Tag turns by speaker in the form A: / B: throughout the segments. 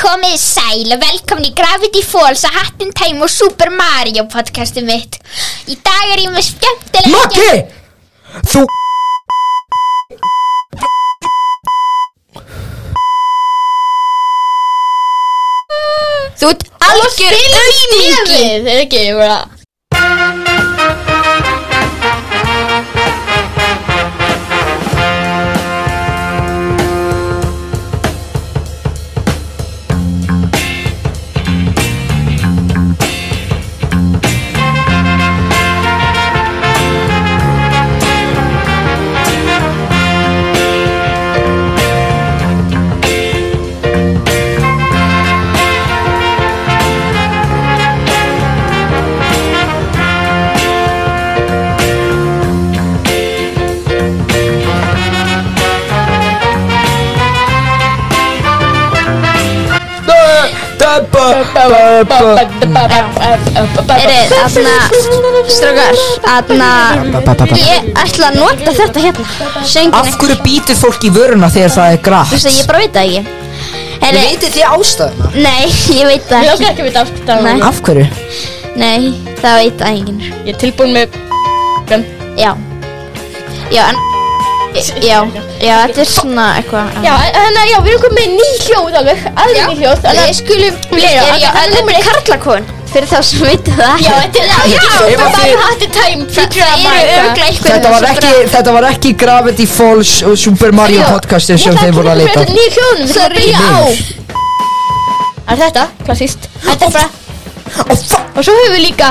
A: Komið þið sæl og velkomin í Gravity Falls að Hattin Time og Super Mario podcastið mitt. Í dag er ég með skemmtilega...
B: Maggi! Þú
C: Þú ert algjör auðmingi
A: Skemmtilega! Þeir ekki, ég bara...
C: Erið, aðna, strókar Aðna, ég ætla að nota þetta hérna Söngin
B: Af hverju býtur fólk í vöruna þegar það er grætt?
C: Þú veist að ég bara veit það ekki Erið,
B: Vitið þið ástæðuna?
C: nei, ég veit það
D: Ég
C: ekki
D: okkar ekki að vita aftur
C: Nei.
B: Af hverju?
C: Nei, það veit það enginn
D: Ég er tilbúin með
C: Já Já, en Já, já, þetta er svona eitthvað
D: Já, þannig að já, við erum komið með ný hljóð alveg Aðri ný hljóð Þannig
C: Við skulum
D: Leira,
C: Er ég
D: þetta er
C: alveg karlakon? Fyrir þá sem veit það
D: að já, þetta er lag
B: Ef
D: Super
B: að
D: Mario
B: þið-
D: Hattie Time
C: Það
D: Feature að
C: eru
D: Mario
C: örgla eitthvað
B: Þetta var ekki, þetta var ekki Gravity Falls og Super Mario podcastin sem þeir voru að leita
D: Þetta er ný hljóðun, við þurfum að byrja á
B: Nei.
D: Það er þetta, klassíst Þetta er bara
B: Ó, fuck!
D: Og svo höfum við líka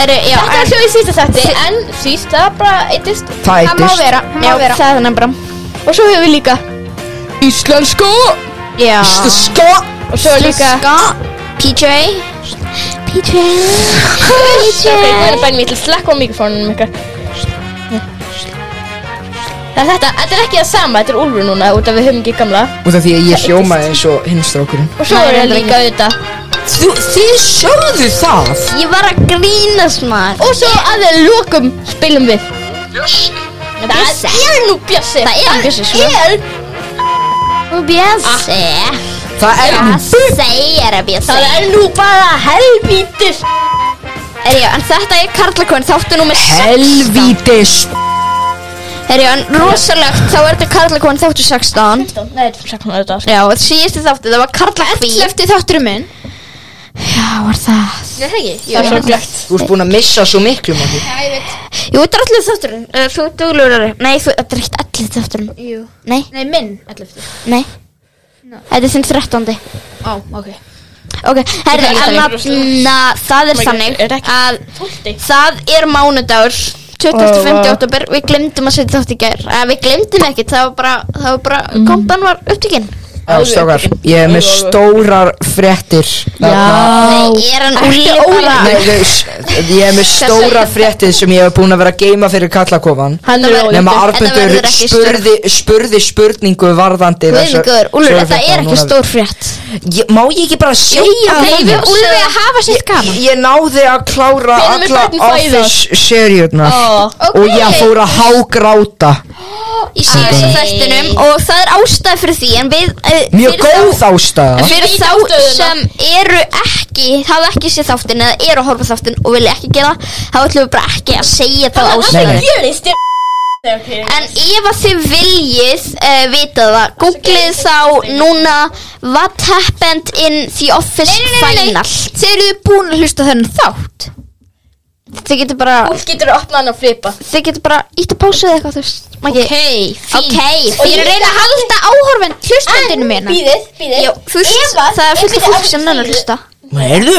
C: Herru, já,
D: Þetta
C: en-
D: er hljóð í sísta þætti En síst, það er bara eittist
C: Það
B: Það
C: má
B: eitist
C: vera,
D: Já,
C: já, það er þannig bara
D: Og svo höfum við líka
B: Íslensku Ah.
C: Já
B: Íslensku
D: Og svo er líka
C: Ska PJ PJ
D: Ok, það
C: PJ
D: er bænum, ég ætla að slekka á mikrofónunum ykkar Það er þetta, þetta er ekki það sama, þetta er Úlfur núna út af við höfum ekki gamla
B: Út af því að ég hljómaði eins og hinnstrákurinn
D: Og svo
C: Nei,
D: er það
C: reyndar
D: líka auðvitað
B: Þið sjáðu það?
C: Ég var að grínast maður
D: Og svo að við lokum spilum við
C: Bjössi.
D: Það er nú Bjössi
C: Það er Bjössi, sko.
D: er
C: Og Bjössi
B: Það er
C: Það segir að Bjössi
D: Það er nú bara helvítis
C: Herjá, en þetta er Karlakon þáttu númer 16
B: helvítis
C: Herjá, en rosalegt þá er þetta Karlakon þáttu 16
D: Nei, þetta er saknað auðvitað sko.
C: Já, og síðustu þáttu það var Karlakví
D: þátturum minn
C: Já, var það
D: Nei, það ekki Það er svo glögt
B: Þú ert búin að missa svo miklu manni
C: Jú, þetta er allir þátturinn uh, Þú duglur Nei, þú, þetta er ekkert allir þátturinn
D: Jú
C: Nei,
D: Nei, minn Ellefti
C: nei Þetta er þinn 13.
D: Á, ok
C: Ok, herri,
D: Ég kann
C: en
D: ekki
C: að,
D: brjóstið.
C: na, það er
D: Maður
C: þannig
D: Oh er ekki-
C: að
D: Tólti
C: það er mánudagur 25.
B: Oh, wow.
C: oktober, við glemdum að setja þátt í gær að við glemdum ekki, það var bara, það var bara
B: Mm.
C: kompan var upptökinn
B: Já, strákar, ég er með stórar fréttir Já
C: Nei, er hann Óli bara
B: Nei, þau, s- ég er með stóra fréttið sem ég hef búin að vera að geima fyrir kallakofan
D: Hann
C: Þetta
D: er
C: var-
D: óli
B: Nefna
C: þetta verður
B: Arbendur
C: ekki
B: spurði, spurði spurningu varðandi þessar-
C: Guðvíkur, Úlfur,
B: þessar
C: þetta er
B: fréttir
C: ekki
B: núna.
C: stór frétt
B: ég, Má ég ekki bara segja
C: Leifur
B: það?
C: Úlfi að hafa sitt gaman
B: Ég náði að klára
D: Hvenær mun
B: alla
D: börnin fæðast?
B: Office-seríurnar
D: Ó,
B: Og ég fór að hágráta
C: í síðasta þættinum og það er ástæð fyrir því en við eh,
B: Mjög
C: fyrir þá-
B: góð ástæða
C: fyrir
D: Vita
C: þá
D: stöðuna.
C: sem eru ekki hafa ekki séð þáttin eða eru að horfa á þáttin og vilja ekki gera það, þá ætlum við bara ekki að segja þá
B: Nei,
C: ástæðu
B: nei.
D: Gerist ég Nei, ok
C: en ef að þið viljið uh, vita það, googlið þá núna what happened in the office final
A: Þeir eru búin að hlusta þennan þátt.
C: þið getur bara
D: Úlf getur að opna hann og flipa
C: þið getur bara ítt að pásu eða eitthvað þú veist Maggi.
A: Ok, fínt.
C: ok,
D: Og
C: fín.
D: ég reyni að
A: Halda áhorfinn hlustandinu minna.
D: Býðið, býðið
C: hérna. Já, þú veist, það er fullt af fólk sem nennar að hlusta
B: Erðu?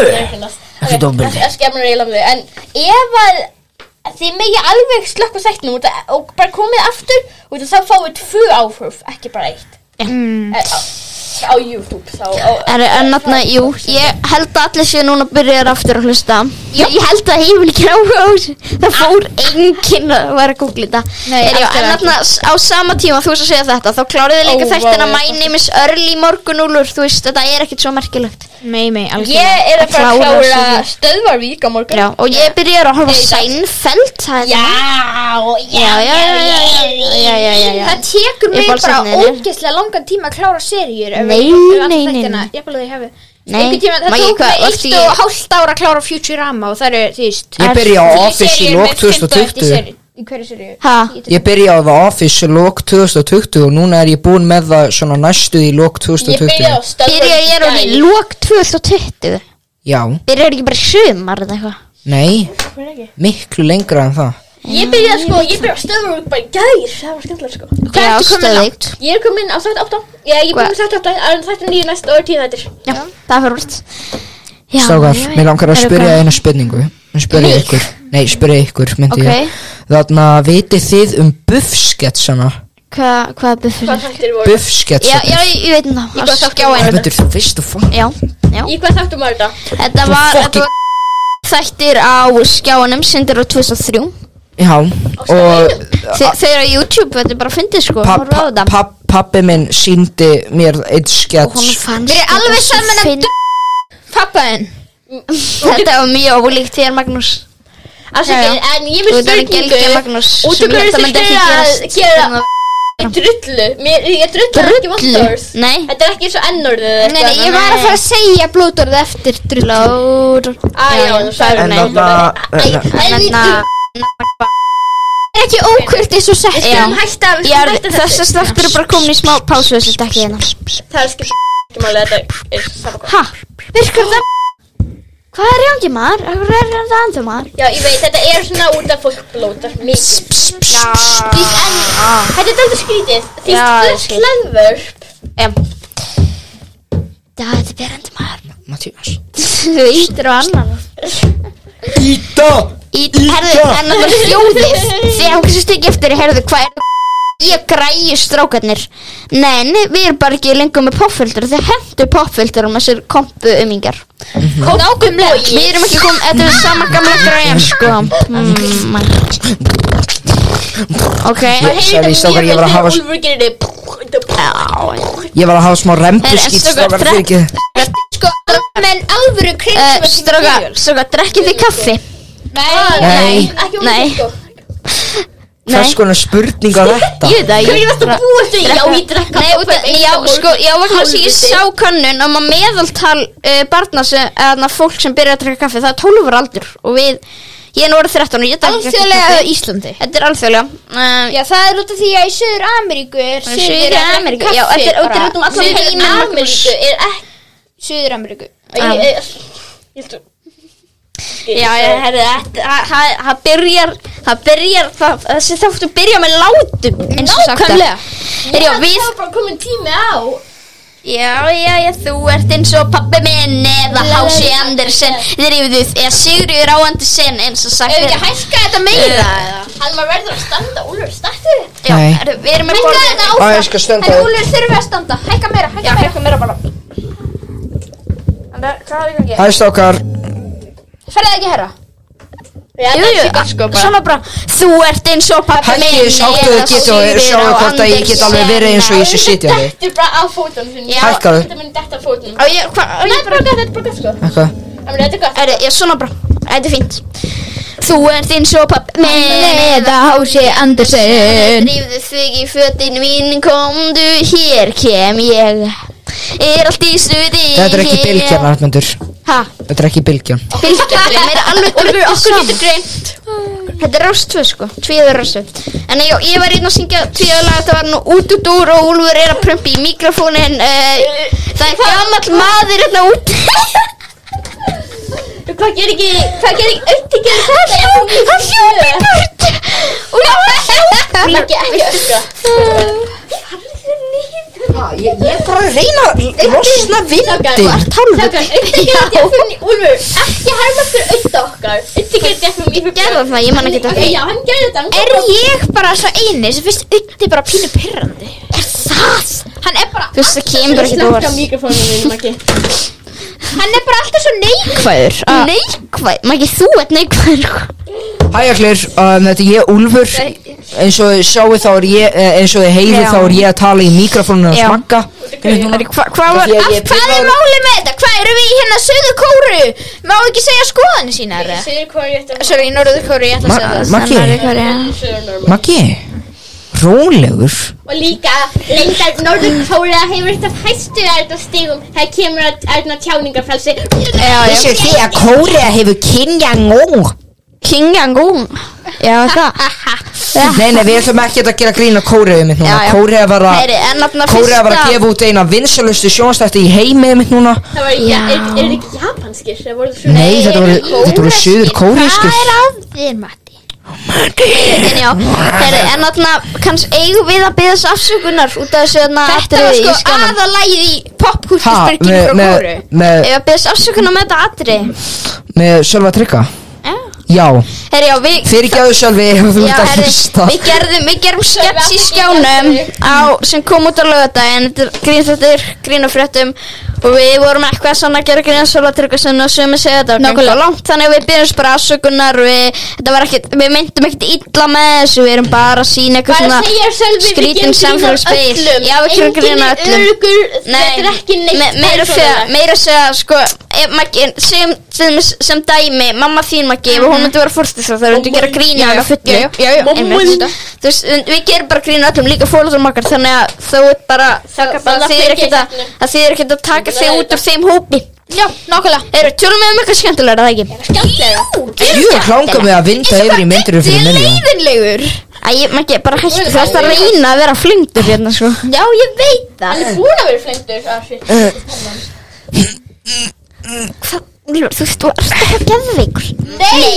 D: Ekki dómbeldi hérna. Það skemmur eiginlega með þau En ef að þið megi alveg slökka sætnum út að- og bara komið aftur út að þá fáið tvö áhrif, ekki bara eitt
C: Mm.
D: Eh, á- á YouTube þá á-
C: Er, en náttúrulega, jú, ég held að allir séu núna byrjar aftur að hlusta Ég held að heimil ekki áhuga á þessu Það fór enginn að vera að googla þetta
E: Nei,
C: En já,
E: aldrei
C: En
E: ekki.
C: náttúrulega á sama tíma þú veist að segja þetta Þá kláriði líka
D: Ó,
C: oh, þættina
D: vá,
C: wow, My Name is Early Morgunúlur Þú veist, þetta er ekkit svo merkilegt
E: Nei, nei, alls
D: Ég er að fara að
C: Klára
D: klára
C: sig.
D: stöðvarvík á morgun
C: Já, og ég byrjar að horfa á
D: Nei, það-
C: Seinfeld það er
D: Já,
C: Já, já, já, já, já, já, já, já, já.
E: Það tekur
C: Ég
E: mig
C: bara
E: bara
C: safna henni.
E: ógeðslega langan tíma að klára serjur ef
C: Nei,
E: ég hef alla
C: nei, nei,
E: þættina,
C: nei.
E: jafnvel að ég hafi-
C: Nei,
E: Einhvern tíma, það
C: Maggi,
E: tók
C: hvað-
E: mig
C: varstu
E: eitt
C: í-
E: og hálft ára að klára Futurama og það eru, þú veist
B: Ég byrja á Office í lók 2020
E: Í hverju serju?
C: Ha?
B: Ég byrjaði á Office lók 2020 og núna er ég búin með það svona næstu í lók
D: ég byrja á
B: 2020
D: stöðvarvík
C: Byrjar ég er
D: í
C: orðið
D: gær.
C: lók 2020
B: Já,
C: Byrjar ekki bara í sumar eða eitthvað
B: nei,
D: Hvað er ekki?
B: miklu lengra en það
D: Ég byrja sko, ég byrja á stöðvarvík bara í gær Það var skemmtilega sko
E: Hvað
C: Já,
E: ertu komin
C: stöðugt.
E: langt?
D: Ég er komin á þátt 8 Já, ég er komin á þátt 8 En þátt 9 næst og 10 þættir
C: Já, það er fyrir úrst
B: Strákar, mér langar að spyrja eina spurningu Spyrja
C: Mig?
B: ykkur Nei, spyrja ykkur, myndi
C: Ok.
B: ég Þarna, vitið þið um buffsketsana?
C: Hvað, hvað er buffur?
D: Hvað þættir
C: Já, já,
D: voru?
B: Buffsketsana
C: ég ég veit það,
D: Í
C: á
D: hvað þáttum
C: skjáinu
B: Þetta er þú veist og fann
C: Já, já
D: Í hvað þáttum var þetta?
C: Þetta
B: Þú
C: var, þetta
B: fucking-
C: var þættir á skjáinum Sindir á 2003
B: Já, og
C: Þe, Þeir eru á YouTube, þetta er bara fyndið sko
B: pa-
C: horfa á
B: pa-
C: þetta.
B: pa- pabbi minn síndi mér eitt
C: Og honum
B: skets
C: fannst
E: Þeir eru
C: þetta
E: alveg
C: svo
E: saman að
C: fyndið.
E: Pappaðinn
C: Þetta var mjög ólíkt þér Magnús
D: Afsakið,
C: Já, já.
D: en ég
C: Þú
D: vil
C: ert að gelgja
D: spurningu
C: Magnús
D: Út
C: sem
D: af
C: ég held að
D: hverju þið
C: myndi ekki
D: að
C: gerast
D: gera
C: hérna.
D: Ég drullu, mér, ég drullu ekki
C: Drullu?
D: vondorð
C: Nei.
D: Þetta er ekki eins og ennordið eða
E: Nei, nei,
D: eitthvað
E: ég var að fara að segja blótorð eftir drull
C: Lóður
D: Á, já, þú sagði
B: En
D: nei
B: þarna,
E: Það hérna. er ekki ókvöld eins og sett
C: Já.
D: Skulum hætta, við skulum hætta
C: Þess
D: þessu
C: að sláttur er bara komin í smá pásu þessi dekki hérna
D: Það er skipt ekki máli, þetta er sama hvað
C: Ha? Virkar það? Hvað er í gangi maður? Hvað er þetta andur maður?
D: Já, ég veit, þetta er svona út af fólk blótar mikið Því en, þetta er dættur skrítið Því
C: Já,
D: það
C: ég
D: er
C: skil.
D: sleðvörp
C: Já Já, þetta er berandi maður
B: Mattías
C: Þú ítir á annan
B: Íta
C: Ít, herðu, en það var hljóðið Þegar hún kannski stikki eftir, herðu, hvað er Ég græju strákarnir Nei, nei, við erum bara ekki lengur með popfilter Þeir hendur popfilter um þessir kompu umingar
B: Hm.
D: Nákvæmlega
C: Við erum ekki komið, þetta er sama gamla græjan, sko mm, Ok
B: Sorry, strákar, ég var að hafa
D: Úlfur gerir þið
B: Ég var að hafa smá
C: Herra,
B: rembuskýt
C: strákar,
B: Strákar, fyrir ekki
E: Sko, almenn alvöru
C: Uh,
E: kreisum
C: Stráka, stráka, drekkið þið kaffi?
E: Nei,
B: Nei.
D: Ekki um
C: Nei.
D: sko
B: Hvers konar spurning á þetta?
C: Ég veit það
D: Hvernig varst að búa þau? Já,
C: Drekka-
D: ég drekka
C: Nei, út af, já, sko, já, vegna þess að ég sá kannun um að meðaltal uh, barna sem, eða fólk sem byrja að drekka kaffi, það er 12 ára aldur og við, ég er nú orðið 13 og ég drekka ekki
E: Alþjóðlega
C: kaffi.
E: Íslandi
C: Þetta er alþjóðlega. Uh,
E: Já, það er út af því að í Suður Ameríku er
C: Suður Ameríku, já, þetta er- þetta er út um allan
E: Suður
C: heiminn,
E: Ameríku
D: Ameríku er ekki
E: Suður Ameríku
D: Ég-
C: Já.
D: ég- ég held
C: já, já, herri,
D: að-
C: þetta- það- það það byrjar, það byrjar, það- þessi þáttu byrja með látum, eins og sagt.
E: Nákvæmlega.
C: Herri, já,
D: Það
C: við,
D: var bara komin tími á
C: Já, já, já, þú ert eins og pappi minn eða Hási Andersen Þrýfðuð, eða Sigriður á Andersen eins og sagt
E: Ef ég
C: er- Eh,
E: hækka þetta meira
D: Hann var verður að standa Úlfur, stættu
C: Já,
B: Nei.
C: er, við erum með
E: Hækka
C: borðið
E: þetta
B: Á, ég skal
E: áfram
B: standa
E: En
B: upp.
E: Úlur þurfa að standa Hækka meira, hækka meira
D: meira bara
B: Hæ strákar
E: Ferðu ekki herra
C: Jú, jú,
D: sko,
C: svona bara Þú ert eins og pappi minn
B: Hættið
C: eða
B: þess áttu þið geta og
C: Sigríður
B: sjáu
C: á
B: hvort að ég get alveg verið eins og ég sé sitja þig
D: Þetta er bara á fótum sinni.
C: Já.
B: Hækkaðu.
D: Þetta minn detta á fótum
C: Á, ég, hva, á,
D: Nei,
C: ég bara
D: bara gott, þetta er bara gott sko
B: Eitthvað
D: Það er þetta er gott
C: Er, já, svona bara, þetta er fínt Þú ert eins og pappi minn eða
E: Hási Andersen
C: Drífðu þig í fötin mín, komdu hér kem ég Er allt í stuði
B: Þetta er ekki bylgjan, Arnmundur
C: Hæ?
B: Þetta er ekki bylgjan
C: Fylgjum, mér er alveg drullið
D: Okkur
C: saman
D: getur greint
C: Þetta er rástvö sko, tvíður rástvö En já, ég var einn að syngja tvíður lag Þetta var nú út út úr og Úlfur er að prumpi í mikrofónin uh, Það er gamall maður hérna út
D: Hvað gerir ekki Hvað gerir ekki Ötti gerir hvað Það er ekki Það hljópi
C: Burt
D: Það
C: Úlfur
D: er ekki ekki öskra
B: Ég þarf að reyna að losna
D: Þakkar Þakkar Ötti gerir þetta fyrir Úlfur Ekki herma fyrir ötti okkar Ötti gerir þetta fyrir mér
C: Gerða það, ég man ekki þetta
D: Ok, já, hann gerir þetta hann
E: Er
D: gerir þetta.
E: ég bara svo eini sem finnst Uddi bara pínu pirrandi
C: Er það?
E: Hann er bara
C: Þú Gusta kemur ekki þú
D: Slökka mikrofónum minn, Maggi
E: Hann er bara alltaf svo neik
C: Neikvæður Neikvæður Maggi þú ert neikvæður
B: Hæ allir, um, þetta er ég Úlfur eins og þið sjáu þá er ég eh, eins og þið heyrið
C: Já.
B: þá er ég að tala í mikrofóninu að
C: Já.
B: smagga
C: Hva- Hvað var
B: Því að
E: Af
B: ég-
E: hvað er málið með þetta? Hvað eru við í hérna söðu kóru? Má ekki segja skoðanir sína er það?
D: Segir hvað ég ætti að
E: Sorry, í norðu kóru, ég ætla að segja það
B: Maggi,
C: Maggi
D: Sögur normal
B: Maggi Rólegur
D: Og líka, lengdar Norður Kóra hefur þetta hæstu erðna stigum Það kemur að erðna tjáningarfælsi
B: Þessu því að Kórea hefur kynja ngó
C: King and Gong Já það
B: Nei, nei, við ætlum ekki að gera grín á Kórea mitt núna
C: Já, já.
B: Kórea var að
C: Heyri, en nafna
B: Kórea var að gefa út eina vinsalustu sjónstætti í heimi mitt núna
D: Það var,
C: Já.
D: ja, er, er ekki japanskir? Það voru svona
B: Nei, þetta voru, þetta voru söður kóreaskir
E: Hvað er á þér, Matti?
C: En já, heyri, en þarna kannski eigum við að byggja afsökunar út af þessu þarna
E: Þetta
C: atriði í
E: var sko
C: skjánum.
E: aðalægið í
B: Ha,
E: popkúltustyrkinu
B: með,
E: frá
B: með,
E: kóru
B: með,
C: Eigum við að byggja afsökunar með þetta atrið
B: með Sölva Trygga
C: Já
B: Já,
C: Herri, já, við
B: fyrirgjáðu Sölvi ef þú
C: Já,
B: ert að
C: herri,
B: hlusta
C: við gerðum, við gerðum skets í skjánum á, sem kom út á lögadaginn þetta er grínfréttir, grínafréttum og við vorum eitthvað svona að gera grínansóla tryggvarsinn og sömu segja þetta var
E: Nákvæmlega.
C: gengið of langt þannig að við byrjum bara afsökunar við, þetta var ekkert, við myndum ekkert illa með þessu við erum bara að sína eitthvað
D: Bara
C: svona
D: segja Sölvi, við
C: skrítin
D: gerum grín að
C: samfélagsspegil
D: öllum.
C: já, við gerum
D: Enginn
C: grína
D: er
C: öllum
D: öruggur, þetta er ekki neitt
C: me, meira segja,
D: persónulegt.
C: meira segja sko, ef Maggi- sem, sem, sem dæmi mamma þín Maggi, ef hún myndi vera fórstu þá þarf hún að gera grína hana fullu
E: Mhm. já, já, já.
C: Einmitt. Þú veist, en við gerum bara grína öllum líka fólöðum okkar þannig að þú ert bara það,
D: bara
C: það þýðir
D: fylgja
C: ekkert að,
D: þessu.
C: að þið er ekkert að taka þig út úr þeim hópi
E: Já, nákvæmlega
C: eru, tölum við um eitthvað skemmtilega, er það ekki?
E: Jú,
B: Jú, klanga mig að vinda yfir í myndirum fyrir
E: minni
B: minni
E: leiðinlegur
C: Æ, Maggi, bara hættu þú ert að reyna að vera flengdur hérna, sko
E: Já, ég veit það
D: Hann er búin að vera flengtur ah, shit.
C: Hvað, Úlfur, þú veist, þú ert ekki geðveikur
E: Nei,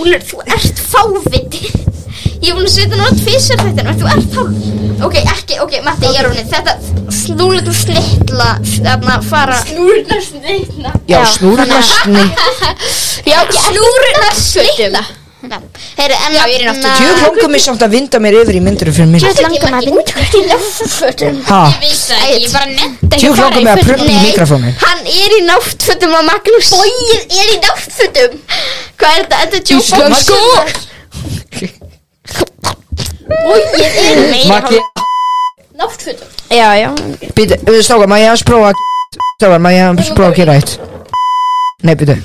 C: Úlfur, þú ert fáviti Ég er búin að setja nátt fyrst þetta en þú ert hálf Ok, ekki, ok, Matti, ég er húnni Þetta, þú letur slittla Þarna fara
D: Snúrnar snýtna
B: Já,
C: Já,
B: snúrnarsni
C: Já, snúruna
E: slitna.
C: Heyri, en
E: ég er í náttúru.
B: Jú, klanga mig samt að vinda mér yfir í myndirum fyrir minni
C: Tjöð langar maður að vinda
D: Í löffötum
B: Ha,
E: veit það ekki, ég bara nefndi
B: jú, klanga mig að prumpa í mikrofónu
C: Hann er í náttfötum á Magnús
E: Bóið er í náttfötum
C: Hvað er þetta? Þetta er Joe Bob
B: Íslensku
D: Bóið er
B: Maggi,
D: Náttfötum
C: Já, já
B: býta, stáka, maður ég hans prófa að Stáka, maður ég hans prófa að gera eitt Nei, býta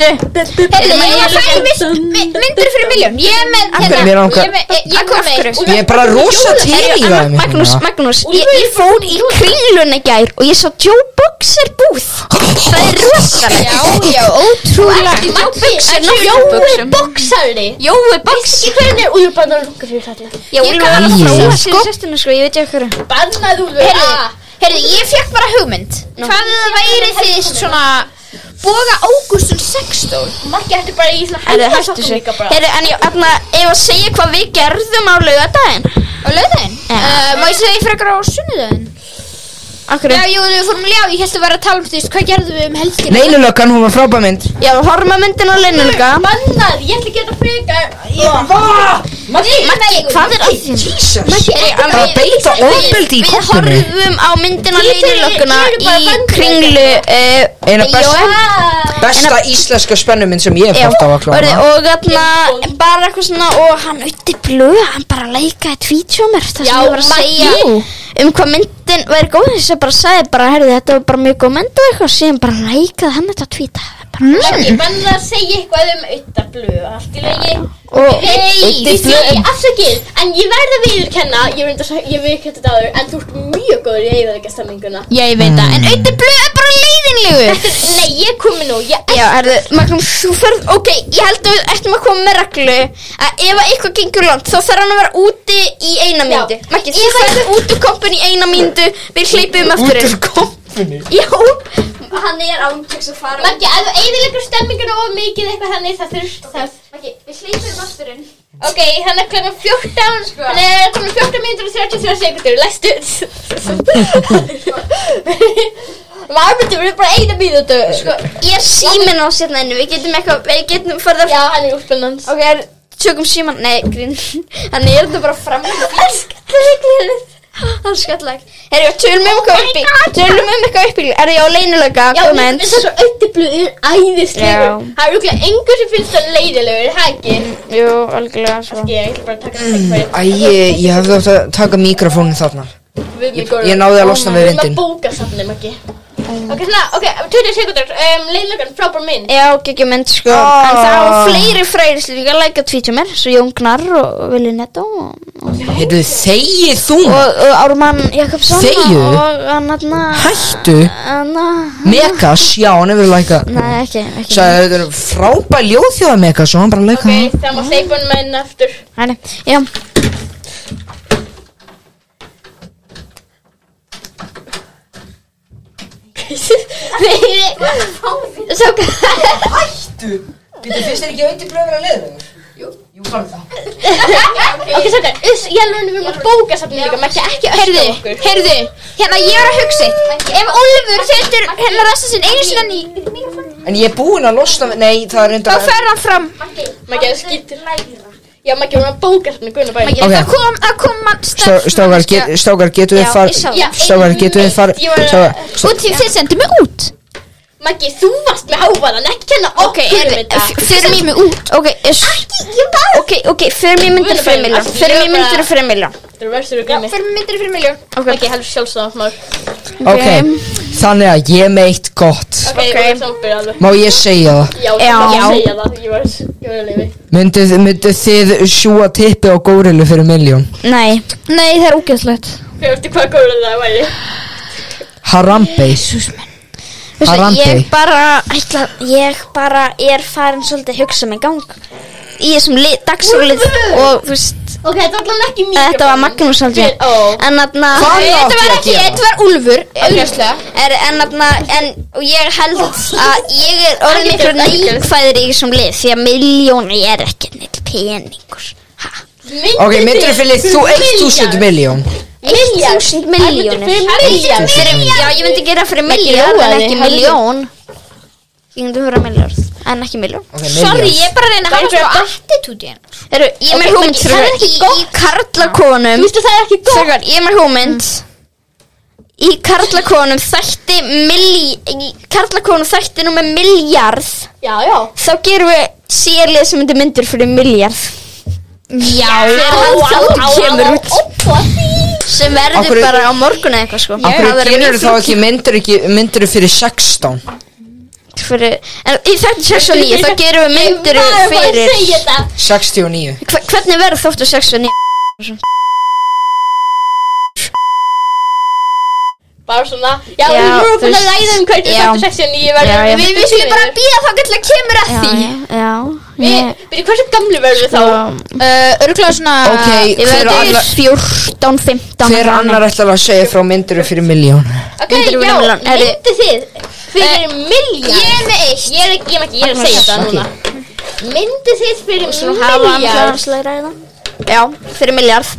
E: Heyrðu, ég var fæði myndur fyrir miljón Ég er með,
B: hverju?
C: hérna,
B: Mér langar-
E: ég er með, ég- ég kom með
B: Ég er bara rosa til í
C: Herri,
B: það
C: Anna- Magnús, Magnús Ég, ég fór í kringlun í gær og ég sá Joe Boxer búð Það er rosalegt
E: Já, já, ótrúlega
D: Jói boksari
C: Jói Boxer
D: Hvernig er úlbannar okkur fyrir þetta?
C: Já,
E: Ég
C: Úlfur
E: gaf
C: var að
B: honum
C: fróa
B: það,
C: sér sérstuna sko, ég veit ekki hverju
D: Bannað úlfur
E: Heyrðu,
D: Ah.
E: heyrðu, ég fekk bara hugmynd Hvað það væri þið svona Boga Ágústsson sextól
D: Maggi hættu bara í svona
C: Herru, hættu
D: hættasokkum
C: sig
D: líka bara
C: Herru, en ég, þarna, ef að segja hvað við gerðum á laugardaginn
E: á löðin
C: Já.
E: uh, Má ég segja frekar á sunnudaginn?
C: Akkur
E: Já, jú, við fórum ljá, ég held að vera að tala um því Hvað gerðum við um helgina?
B: Leinulöggan, hún var frábæð mynd
C: Já, horfum að myndin á leinulga
D: Bannað, ég ætla að geta frekar Ég-
E: Maggi,
C: Hvað er að þín?
B: Jesus
E: Það
B: að beita ofbeldi í
C: Við
B: koppinu
C: horfum á myndin á
D: Þið eru-
C: leinulögguna
D: þið eru bara
C: í
D: vandræði.
C: kringlu uh,
B: Eina besta-
D: Ah.
B: Besta íslenska spennuminn sem ég hef
C: Já,
B: haft á að
C: orðið,
B: klára
C: og þarna bara eitthvað svona og hann auðvitað blöð, hann bara leikaði tvítjómar það sem
D: Já,
C: ég var að
D: Maggi.
C: segja um hvað myndin væri góð þess að bara sagði bara, herði, þetta var bara mjög góð mynd og eitthvað, síðan bara leikaði hann þetta tvíta
D: Maggi, bannað að segja eitthvað um auðablu Allt í lagi
C: og
D: Nei,
C: Eyddi
D: því
C: blöð.
D: því afsakið, en ég verð að viðurkenna, ég verð að ég viðurkenna þetta áður, en þú ert mjög góður í eigðalega stemminguna.
E: Ég veit það, en auðvitað blöð er bara leiðinlegur
D: Þetta er, nei, ég komi nú, ég
C: Já, herðu, Magnús, þú ferð, ok, ég held að við ættum að koma með reglu að ef að eitthvað gengur langt þá þarf hann að vera úti í eina myndu
D: Já.
C: Maggi, þú ferð út úr kompun í eina myndu, við hleypum um aftur inn.
B: kompunni
C: Já, hann er ántjöks að fara
D: Maggi, ef þú eigðalega stemminguna of mikið eitthvað þannig, það þurft það. Maggi, við hlýtum aftur inn. Ok, hérna þannig að klokkan 14, þannig að það er komin 14 mínútur og 33 sekundur, læstu. Varmyndur, við erum bara eina mínútu. Sko,
C: Ég er síminn á sérna henni, við getum eitthvað, við getum farið að
D: já, hann er úrspunnans.
C: Ok, er, tökum síman, nei, grín Þannig er þetta bara fram Það er skallag Herjá, tölum um eitthvað upp í Tölum um eitthvað upp í Er ég á leynilega,
D: Já, mér
C: komment
D: finnst það svo auðvitað
C: Já.
D: æðislegur. Það er rúglega engur sem finnst það leiðilegur, er það ekki?
E: Mm.
C: Jú, algjörlega sko. svo
D: Ég ætla bara að taka það tækværi.
B: Æ, ég ég hefði átt að taka mikrofónin þarna
D: Við mig góður.
B: Ég náði að losna við vindin
D: Við erum að bóka safnum ekki. Ok, svona, ok, 20 sekundur, um, leiðilegan, frábær mynd.
C: Já, geggjum mynd sko
B: Ah.
C: En það var fleiri fræðir sem líka læka tvítumir Svo Jón Gnarr og Vili Netto og, og,
B: Heyrðu, þegið þú
C: og Ármann Jakobsson
B: Þegiðu?
C: Og hann hann
B: Hættu
C: hann
B: Megas, já, hann hefur læka
C: Nei, ekki, ekki
B: Sæði, þetta er frábær ljóðþjóða Megas og hann bara læka
D: Ok, það má hleypa hann með henn aftur.
C: Hæli, já
D: Nei, nei, svo
B: Hættu Býttu, finnst þér ekki að undir blöður að leiðugur? Jú Jú, hvað er það?
D: Ok, svo gæt, ég er nefnum við erum að bóka safnum líka, maður ekki ekki öskra á
E: Heyrðu,
D: okkur.
E: heyrðu, hérna ég er að hugsa eitt. Ef Ólfur setur hérna rasta sinn einu sinna ný,
B: En ég er búinn að losna við Nei, það er
E: þá
B: reyndar
E: fer hann fram.
D: Maður ekki skýttir. Já, maður ekki að bóka safnum guðna bæði.
E: Okay.
B: Ok.
E: Það kom, það kom mann
B: Stó- Strákar, get- strákar, getur þið
E: Já, ég
B: farið
E: sá það.
D: Já,
B: Strákar, getur þið farið
D: ég var að-
B: Strákar, stó-
E: Út því þið sendu mig út.
D: Maggi, þú varst með hávaðan, ekki kenna
C: Ok,
D: okkur um þetta.
C: fyrir mér út Ok, iss Ok, ok, fyrir mér myndir
D: Guðna
C: fyrir
D: bæði,
C: miljón
D: allt í
C: Fyrir mér
D: ljóðra.
C: myndir fyrir miljón
D: Þú verður að
E: Já,
D: glemja.
E: fyrir myndir fyrir miljón.
D: Ok, heldur sjálfsögðan.
B: Ok, þannig að ég er með eitt gott
D: Ok, ég var samanbyrð alveg.
B: Má ég segja það?
D: Já,
C: Já.
D: já. ég var að segja það, ég var ég var að leiði.
B: Mynduð myndu þið sjúa tippi á górilu fyrir miljón?
C: Nei, nei, það er ógeðslegt
D: Fyrir eftir hvað góður það væri.
B: Harambe
C: Veistu,
B: Harandi.
C: Ég bara, ætla, ég bara er farin svolítið að hugsa mig í gang í þessum lit, dagsrúlið og þú veist,
D: Ok, þetta var allan ekki mikið.
C: þetta var Magnús aldrei
D: Við- ó.
C: en þarna
B: Hvað átti
E: Nei, Þetta var
B: ég að
E: ekki,
B: gera?
E: þetta var Úlfur, auðvitað.
C: er, en þarna, en og ég held að ég er orðin
D: Ekkert,
C: miklu
D: ekkert.
C: neikvæður í þessum lið því að miljóni er ekki neitt peningur
B: Ok, mynduð fyrir þú 1000 miljón
C: 1000 miljónir
D: Miljónir.
C: Fyrir- já, ég myndi gera fyrir miljón en
D: ljóðaði,
C: ekki
D: hafðu-
C: miljón ég myndi fyrir miljón en ekki miljón
B: Ok,
E: Sorry,
B: miljón
E: ég er bara að reyna að
D: Væri
E: hafa
D: svo
E: svo attitúti hérna.
C: Heru, ég er með
D: Ok,
C: hugmynd
D: Maggi, það er
C: strákar.
D: ekki
C: Í-
D: gott.
C: Í karlakonum
D: Þú veistu það er ekki góð.
C: Strákar, ég er með hugmynd Í karlakonum þætti milli, Í karlakonum þætti nú með miljard
D: Já, já.
C: Þá gerum við sérlið sem myndir myndir fyrir miljard
E: Já,
C: Þegar hann þá kemur út Sem verður
B: Af hverju-
C: bara á morgun eða eitthvað sko
B: Akkur
C: Það verður
B: gerur
C: mjög
B: þá
C: flott
B: ekki myndur ekki myndur fyrir 16
C: fyrir, En í þætti 69 þá gerum við myndir
D: Ég var að
C: fyrir
D: segja þetta.
B: 69
C: Hver- Hvernig verður þóttu 69?
D: Bara svona, já,
C: Já,
D: við vorum
C: þú
D: búin að
C: veist-
D: læða um hvernig
C: Já.
D: þetta 69 verður.
C: Já, já.
E: Við við skulum bara býða þá gætilega kemur að
C: Já,
E: því.
C: já, já
D: Við, byrju, hversu gamlu verður við þá?
E: Örglega Eh, svona...
B: Ok,
C: Ég
B: hver
C: verður
B: annar
C: 14, 15
B: Hver annar ætlar að segja frá myndur fyrir miljón?
D: Ok,
C: Myndir við
D: já,
C: vera milljón? Herri-
D: myndu þið fyrir miljón.
E: Ég er með eitt.
D: Ég er ekki, ég er ekki, ég er að segja það
B: Ok.
D: núna. Myndu þið fyrir
C: Sko, Svo hafa hann
D: miljón.
C: fjárhagslegra í það Já, fyrir miljard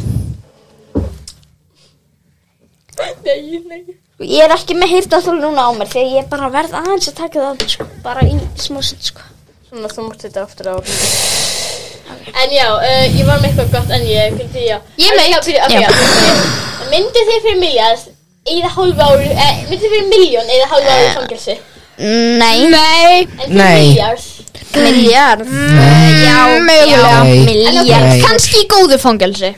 D: Nei, nei.
C: Ég er ekki með hýrt alltaf núna á mér Því að ég bara verð aðeins að taka það sko, Bara í smúsin sko.
D: Svona, þú mátt þetta aftur á En já, uh, ég var með eitthvað gott en ég fylgdi já
E: Ég með
D: eitt okay, já. ok. Myndu þið fyrir miljard eða hálfa ári eh, Myndu þið fyrir miljón eða hálfa
C: Eh,
D: ári í fangelsi
C: Nei,
E: Nei.
D: En
E: Mm,
D: fyrir
B: Nei.
D: miljard
C: miljard
E: Já, mögulega.
B: Nei.
C: Miljard,
B: Nei.
E: Kanski í góðu fangelsi.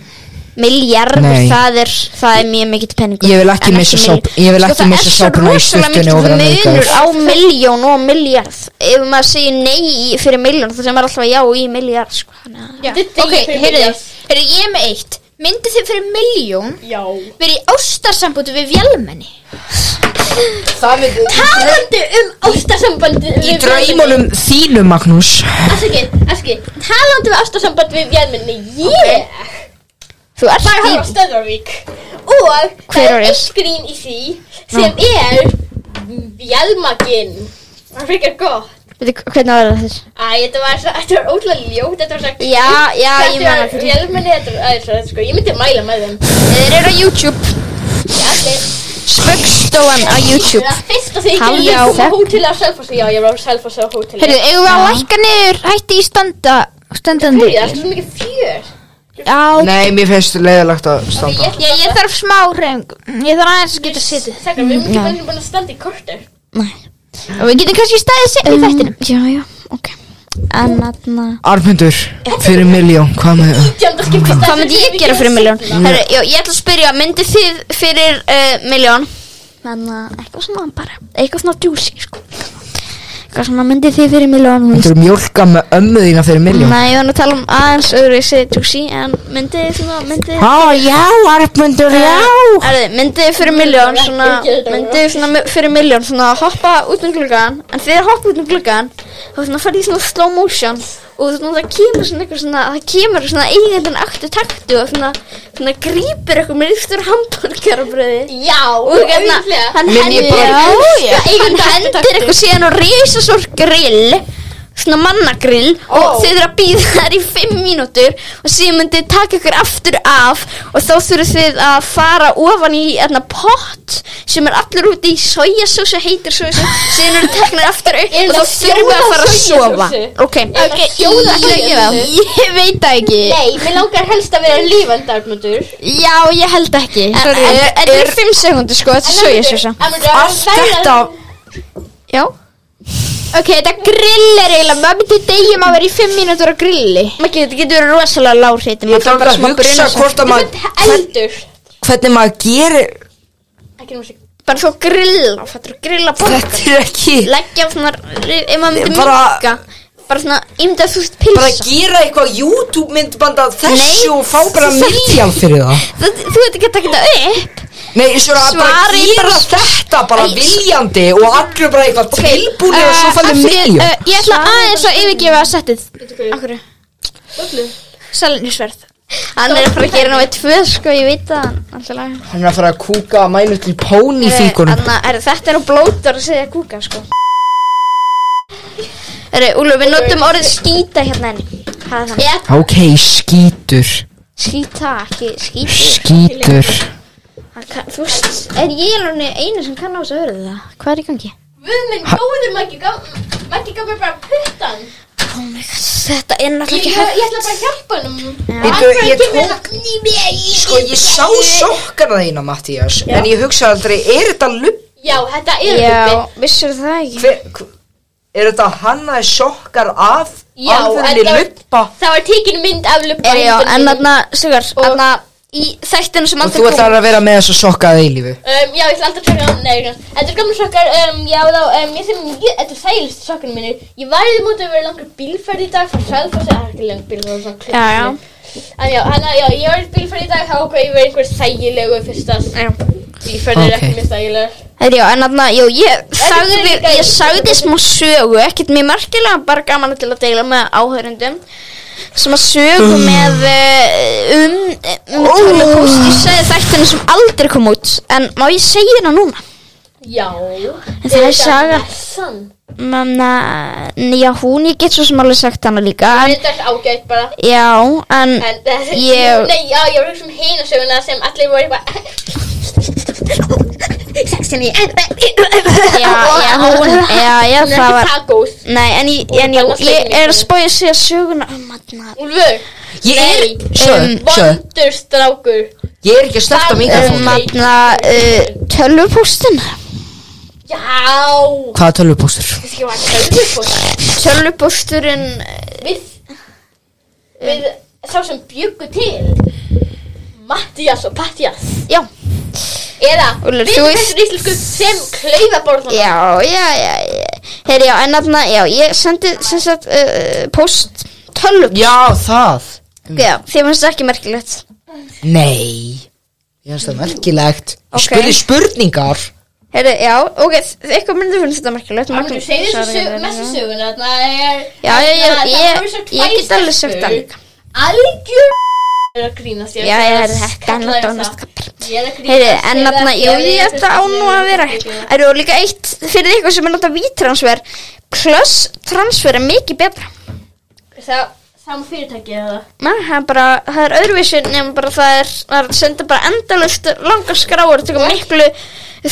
C: miljard
B: Nei.
C: það, er, það er mjög mikill penningur
B: Ég vil ekki Sko,
C: En Sko,
B: missa
C: milljón.
B: sáp- ég vil ekki missa sápuna í
C: Það er
B: sturtunni og vera
C: svo rosalega mikill
B: nauðgaður.
C: munur á miljón og miljard Ef maður segir nei í- fyrir miljón Það sem er alltaf já í miljard sko. Þannig að-
D: Myndu þið
E: Ok,
D: fyrir
E: heyrðu,
D: milljarð?
E: heyrðu, ég er með eitt. Myndi þið fyrir miljón
D: Já
E: verið í ástarsambútu við vélmenni?
B: Það myndi
D: Talandi um ástasambandi
B: Í draumunum þínu, Magnús
D: Afsakið, afsakið Talandi um ástasambandi við vélminni Ég yeah.
C: Þú ert
D: var að
C: í
D: horfa á Stöðvarvík Og
C: Hver
D: það
C: var
D: er
C: ég?
D: eitt grín í því sem er vélmaginn Það er frekar gott
C: Veitu, Hvernig var það þér?
D: Æ, þetta var, svo, þetta var ótrúlega ljótt, þetta var svona
C: Já, já, ég man eftir
D: Þetta var
C: því.
D: vélmenni, þetta var aðeins svona, sko, ég myndi mæla með þeim
C: Þeir eru á YouTube
D: Ég allir,
C: Spaukstofan á YouTube
D: það fyrsta því
C: Halló.
D: ég gerði á hóteli á Selfossi, já, ég var á Selfossi á hóteli
E: Heyrðu, eigum við að lækka niður hætti í standa
F: Stendandi
D: Það er svo mikið fjör
F: Já,
B: Nei, mér finnst leiðilegt að standa
D: Ég-
E: Ég, ég þarf smá reyng Ég þarf aðeins að geta sitt
D: Sækra, við erum ekki bara búin að standa í kortur
E: Og við getum kannski staðið sitt í þættinum
F: Mm, já, já, ok En aðna
B: Armyndur, fyrir miljón, hvað með það?
D: Tjanda skipti
F: Hvað myndi ég gera fyrir miljón? Herru, já, ég ætla að spyrja, myndi þið fyrir
E: eh,
F: uh, miljón? Þannig að eitthvað svona bara, eitthvað svona djúsi, sko Eitthvað svona myndi þið fyrir miljón
B: Þú eru mjólka með ömmu þína fyrir miljón
F: Nei, ég var nú að tala um aðeins öðru þessi djúsi En myndi þið svona, myndi þið
B: Á, já, Armyndur, já
F: Herru, myndi þið fyrir miljón svona Myndi þið svona mi- fyrir miljón svona hoppa út um gluggan En þegar hoppa út um gluggan Þá svona farið í svona slow motion Og svona það kemur svona eitthvað svona Það kemur svona eigindin aktu taktu Og svona, svona grípir eitthvað með yfstur hambúrgarabröði
D: Já,
F: og hérna
D: auðvitað.
F: hann hendir hann hendir eitthvað síðan og reysa svo grill svona mannagrill og þau þurfa að býða þær í 5 mínútur og síðan myndið taka ykkur aftur af og þá þurfið þið að fara ofan í hérna, pott sem er allur úti í sojasósu heitir sósu síðan eru teknir aftur upp
D: Er
F: og
D: það
F: þá þurfum við að fara að sofa
D: sojasósu?
F: ok,
D: það sjóða sojasósu?
F: ég veit það ekki
D: Nei, mér langar helst að vera lífandarmundur
F: já, ég held ekki en
E: Sorry.
F: þetta er 5 sekundir sko, þetta er sojasósa
D: Allt
B: Þetta,
F: já
E: Ok, þetta grill er eiginlega Mömmi til degjum að vera í 5 mínútur á grilli
F: Maður getur, þetta getur rosalega lág hreyti
B: ég þarf að hugsa
F: sko.
B: hvort að maður
D: Eldur
B: Hvernig maður gerir
D: Ekki nú sig
F: Bara svo grilla, fattur, grilla borga
B: Þetta er ekki
F: Leggja svona, ef maður myndi
B: Bara-
F: mjölka Bara svona, ymda þú veist
B: Bara
F: pilsa
B: að gera eitthvað YouTube myndband af þessu
F: Nei.
B: og fá bara miljón fyrir það
F: Það- Þú veit ekki að taka þetta upp
B: Nei, svona að bara
F: Svari
B: gera
F: bara-
B: þetta bara
F: Æ,
B: viljandi og allir bara eitthvað tilbúinir og svo
E: Eh,
B: fannum
E: afsakið,
B: miljón
E: eh, Ég ætla aðeins að yfirgefa settið Akkur
D: Öllu
E: Salinisverð
F: Hann er að fara að gera námið tvö, sko, ég veit það Alltaf lag
B: Hann er að fara að kúka að mænu til pón í fíkunum
F: Þannig að þetta er nú blótur að segja kúka, sko Herru, Úlfur, við notum orðið skýta hérna enni Það er þannig
B: Ok, skítur
F: Skýta, ekki skýti
B: Skítur
F: Hann kann- Þú veist, er ég alveg einu sem kann á þess að verða það? Hvað er í gangi?
D: Við minn góður Maggi gaf Maggi gaf mér bara puttan
F: Oh my god, þetta er náttúrulega
D: Ég,
F: ekki
D: ég
F: hægt.
D: ætla bara að hjálpa hann
B: Bíddu, ég
D: Sko
B: Sko, ég sá sokkana þína, Mattías En ég hugsa aldrei, er þetta lubb?
D: Já, þetta er
F: Já, vissur það ekki?
B: Hver, hv- er þetta hannaði sokkar af
D: Já,
B: alvörinni
D: þetta-
B: lubba?
D: Það var tekin mynd af luppa
F: Er já, en þarna, Sigur,
D: Og-
F: þarna í þættinu sem
B: Og þú
F: aldrei kom.
B: ætlar að vera með þessa sokka að eilífu
D: Um, já, ég ætla alltaf að taka hann, nei, hérna. þetta er gamla sokkar, um, já þá, um, ég sem, ég, þetta er þægilegst sokkarnir mínir. Ég varði mútið að vera langur bílferð í dag, frá Sælfoss, það er ekki langur bílferð, það er
F: Já, já.
D: En já, hann að, já, ég var í bílferð í dag, þá okkur ég verið einhver þægilegu fyrst að
F: Já.
D: bílferð er
B: Ok.
D: ekki mér þægilegur.
F: Herri, já, en þarna, jú, ég sagði,
D: líka í-
F: ég sagði smá sögu, ekkert mjög merkilega, bara gaman til að deila með áhörundum. Sem að sögu með eh, um, um tölvupúst, ég sagði þættinu sem aldrei kom út, en má ég segja hana núna?
D: Já.
F: það er saga.
D: Sann.
F: Menna, já, hún, ég get svo sem alveg sagt hana líka, en
D: Þetta er ágætt bara.
F: Já,
D: En
F: en
D: þessi,
F: Ég-
D: nei, já, ég var ekki sem heina söguna sem allir voru bara,
F: Sexinni Já, já, hún Já, já,
D: hún er
F: það
D: ekki
F: var
D: það góð.
F: Nei, en ég, en ég, ég er að spója sig að söguna um hann
D: Úlfur,
B: Ég er,
D: Nei, um,
B: sjöðu, sjöðu
D: vondur strákur.
B: Ég er ekki að snerta
F: um
B: mikrofónu.
F: hann uh, tölvupústin
D: Já.
B: Hvaða tölvupóstur?
D: Ég var tölvupóst
F: Tölvupústurinn
D: Við Við Sá sem bjuggu til Mattias og Pattias
F: Já,
D: Eða
F: Úlfur,
D: Við
F: þú veist-
D: þessir íslensku sem klaufaborðan
F: já, já, já Heyri, já, en hann Já, ég sendi sem sagt uh, post tölvup
B: Já, það
F: Já, þið finnst það ekki merkilegt
B: Nei Ég finnst það merkilegt
F: Ok.
B: okay. Spurði spurningar
F: Heyri, já, ok, eitthvað myndi finnst þetta merkilegt
D: Þú segir þessu sög, messu söguna Þannig að það er
F: Já, já, já,
D: þarna-
F: ég-
D: það voru svo
F: ég
D: tvær
F: get alveg sagt
D: stelpur.
F: það líka.
D: Algjör er að grínast
F: Já,
D: ekki
F: já,
D: að
F: þetta er
D: kalla
F: nú
D: þér
F: dánarskapur.
D: það. Ég er að grínast
F: Heyri, en
D: ég er
F: þarna,
D: að-
F: jú,
D: ég
F: ég
D: er
F: þetta á nú að vera Það eru líka eitt fyrir eitthvað sem er nota vítransfer Klöss transfer er mikið betra
D: Það Saman fyrirtæki eða
F: Na, það er bara, það er öðruvísi nema bara það er, það er að senda bara endalust langar skráur, það tekur miklu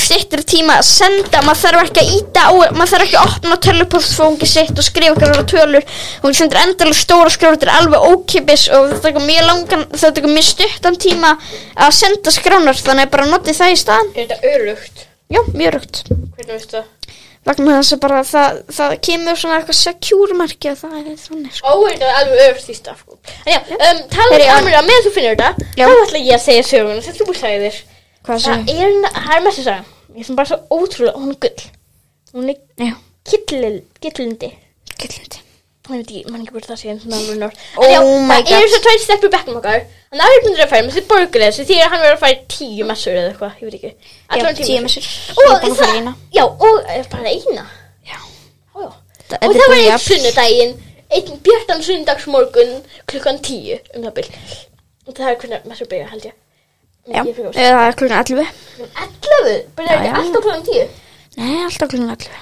F: stittur tíma að senda maður þarf ekki að íta á maður þarf ekki að opna tölvupostfóngi sitt og skrifa einhverjar tölur og hún sendur endalega stóra skrár þetta er alveg ókipis og það tekur mjög langan það tekur mjög stuttan tíma að senda skránar þannig að bara noti það í staðan
D: Er þetta örugt?
F: já, mjög rögt
D: Hvernig veistu það?
F: vegna þess að bara það, það kemur svona eitthvað secure marki og það er þannig sko.
D: Ó, þetta er alveg örugt í stað sko. En já, um, talaðu
F: Herri,
D: um
F: já.
D: Amira meðan þú finnur þetta
F: Já.
D: Þá ætla ég að segja söguna sem þú sagðir Það
F: hvað sem
D: er, það er mest að saga Ég sem bara svo ótrúlega, hún er gull Hún er
F: já,
D: kittlil- kittlindi
F: gillindi
D: Ég veit ekki, mann ekki hvort það sé eins og alveg nort
F: Oh
D: En já,
F: my
D: Það eru
F: God.
D: svo tvær steppur bekknum okkar Þannig að Arnur er að færa með þessi borgarlega Því að hann verður að færa tíu messur eða eitthvað Ég veit ekki
F: já,
D: Allavega
F: tíu messur ég er
D: Og
F: búin að fara í eina
D: það, já, og eh, bara eina Ó,
F: já
D: já. Og
F: Þetta- þetta er
D: það var
F: búið
D: einn
F: jafn.
D: sunnudaginn Einn bjartan sunnudagsmorgun Klukkan tíu um það byl Það er hvernig messur byrja held ég
F: Já,
D: Ég fyrir
F: eða það er klukkan 11
D: óskum 11 Byrja
F: Já, já.
D: ekki alltaf klukkan tíu
F: Nei, alltaf klukkan 11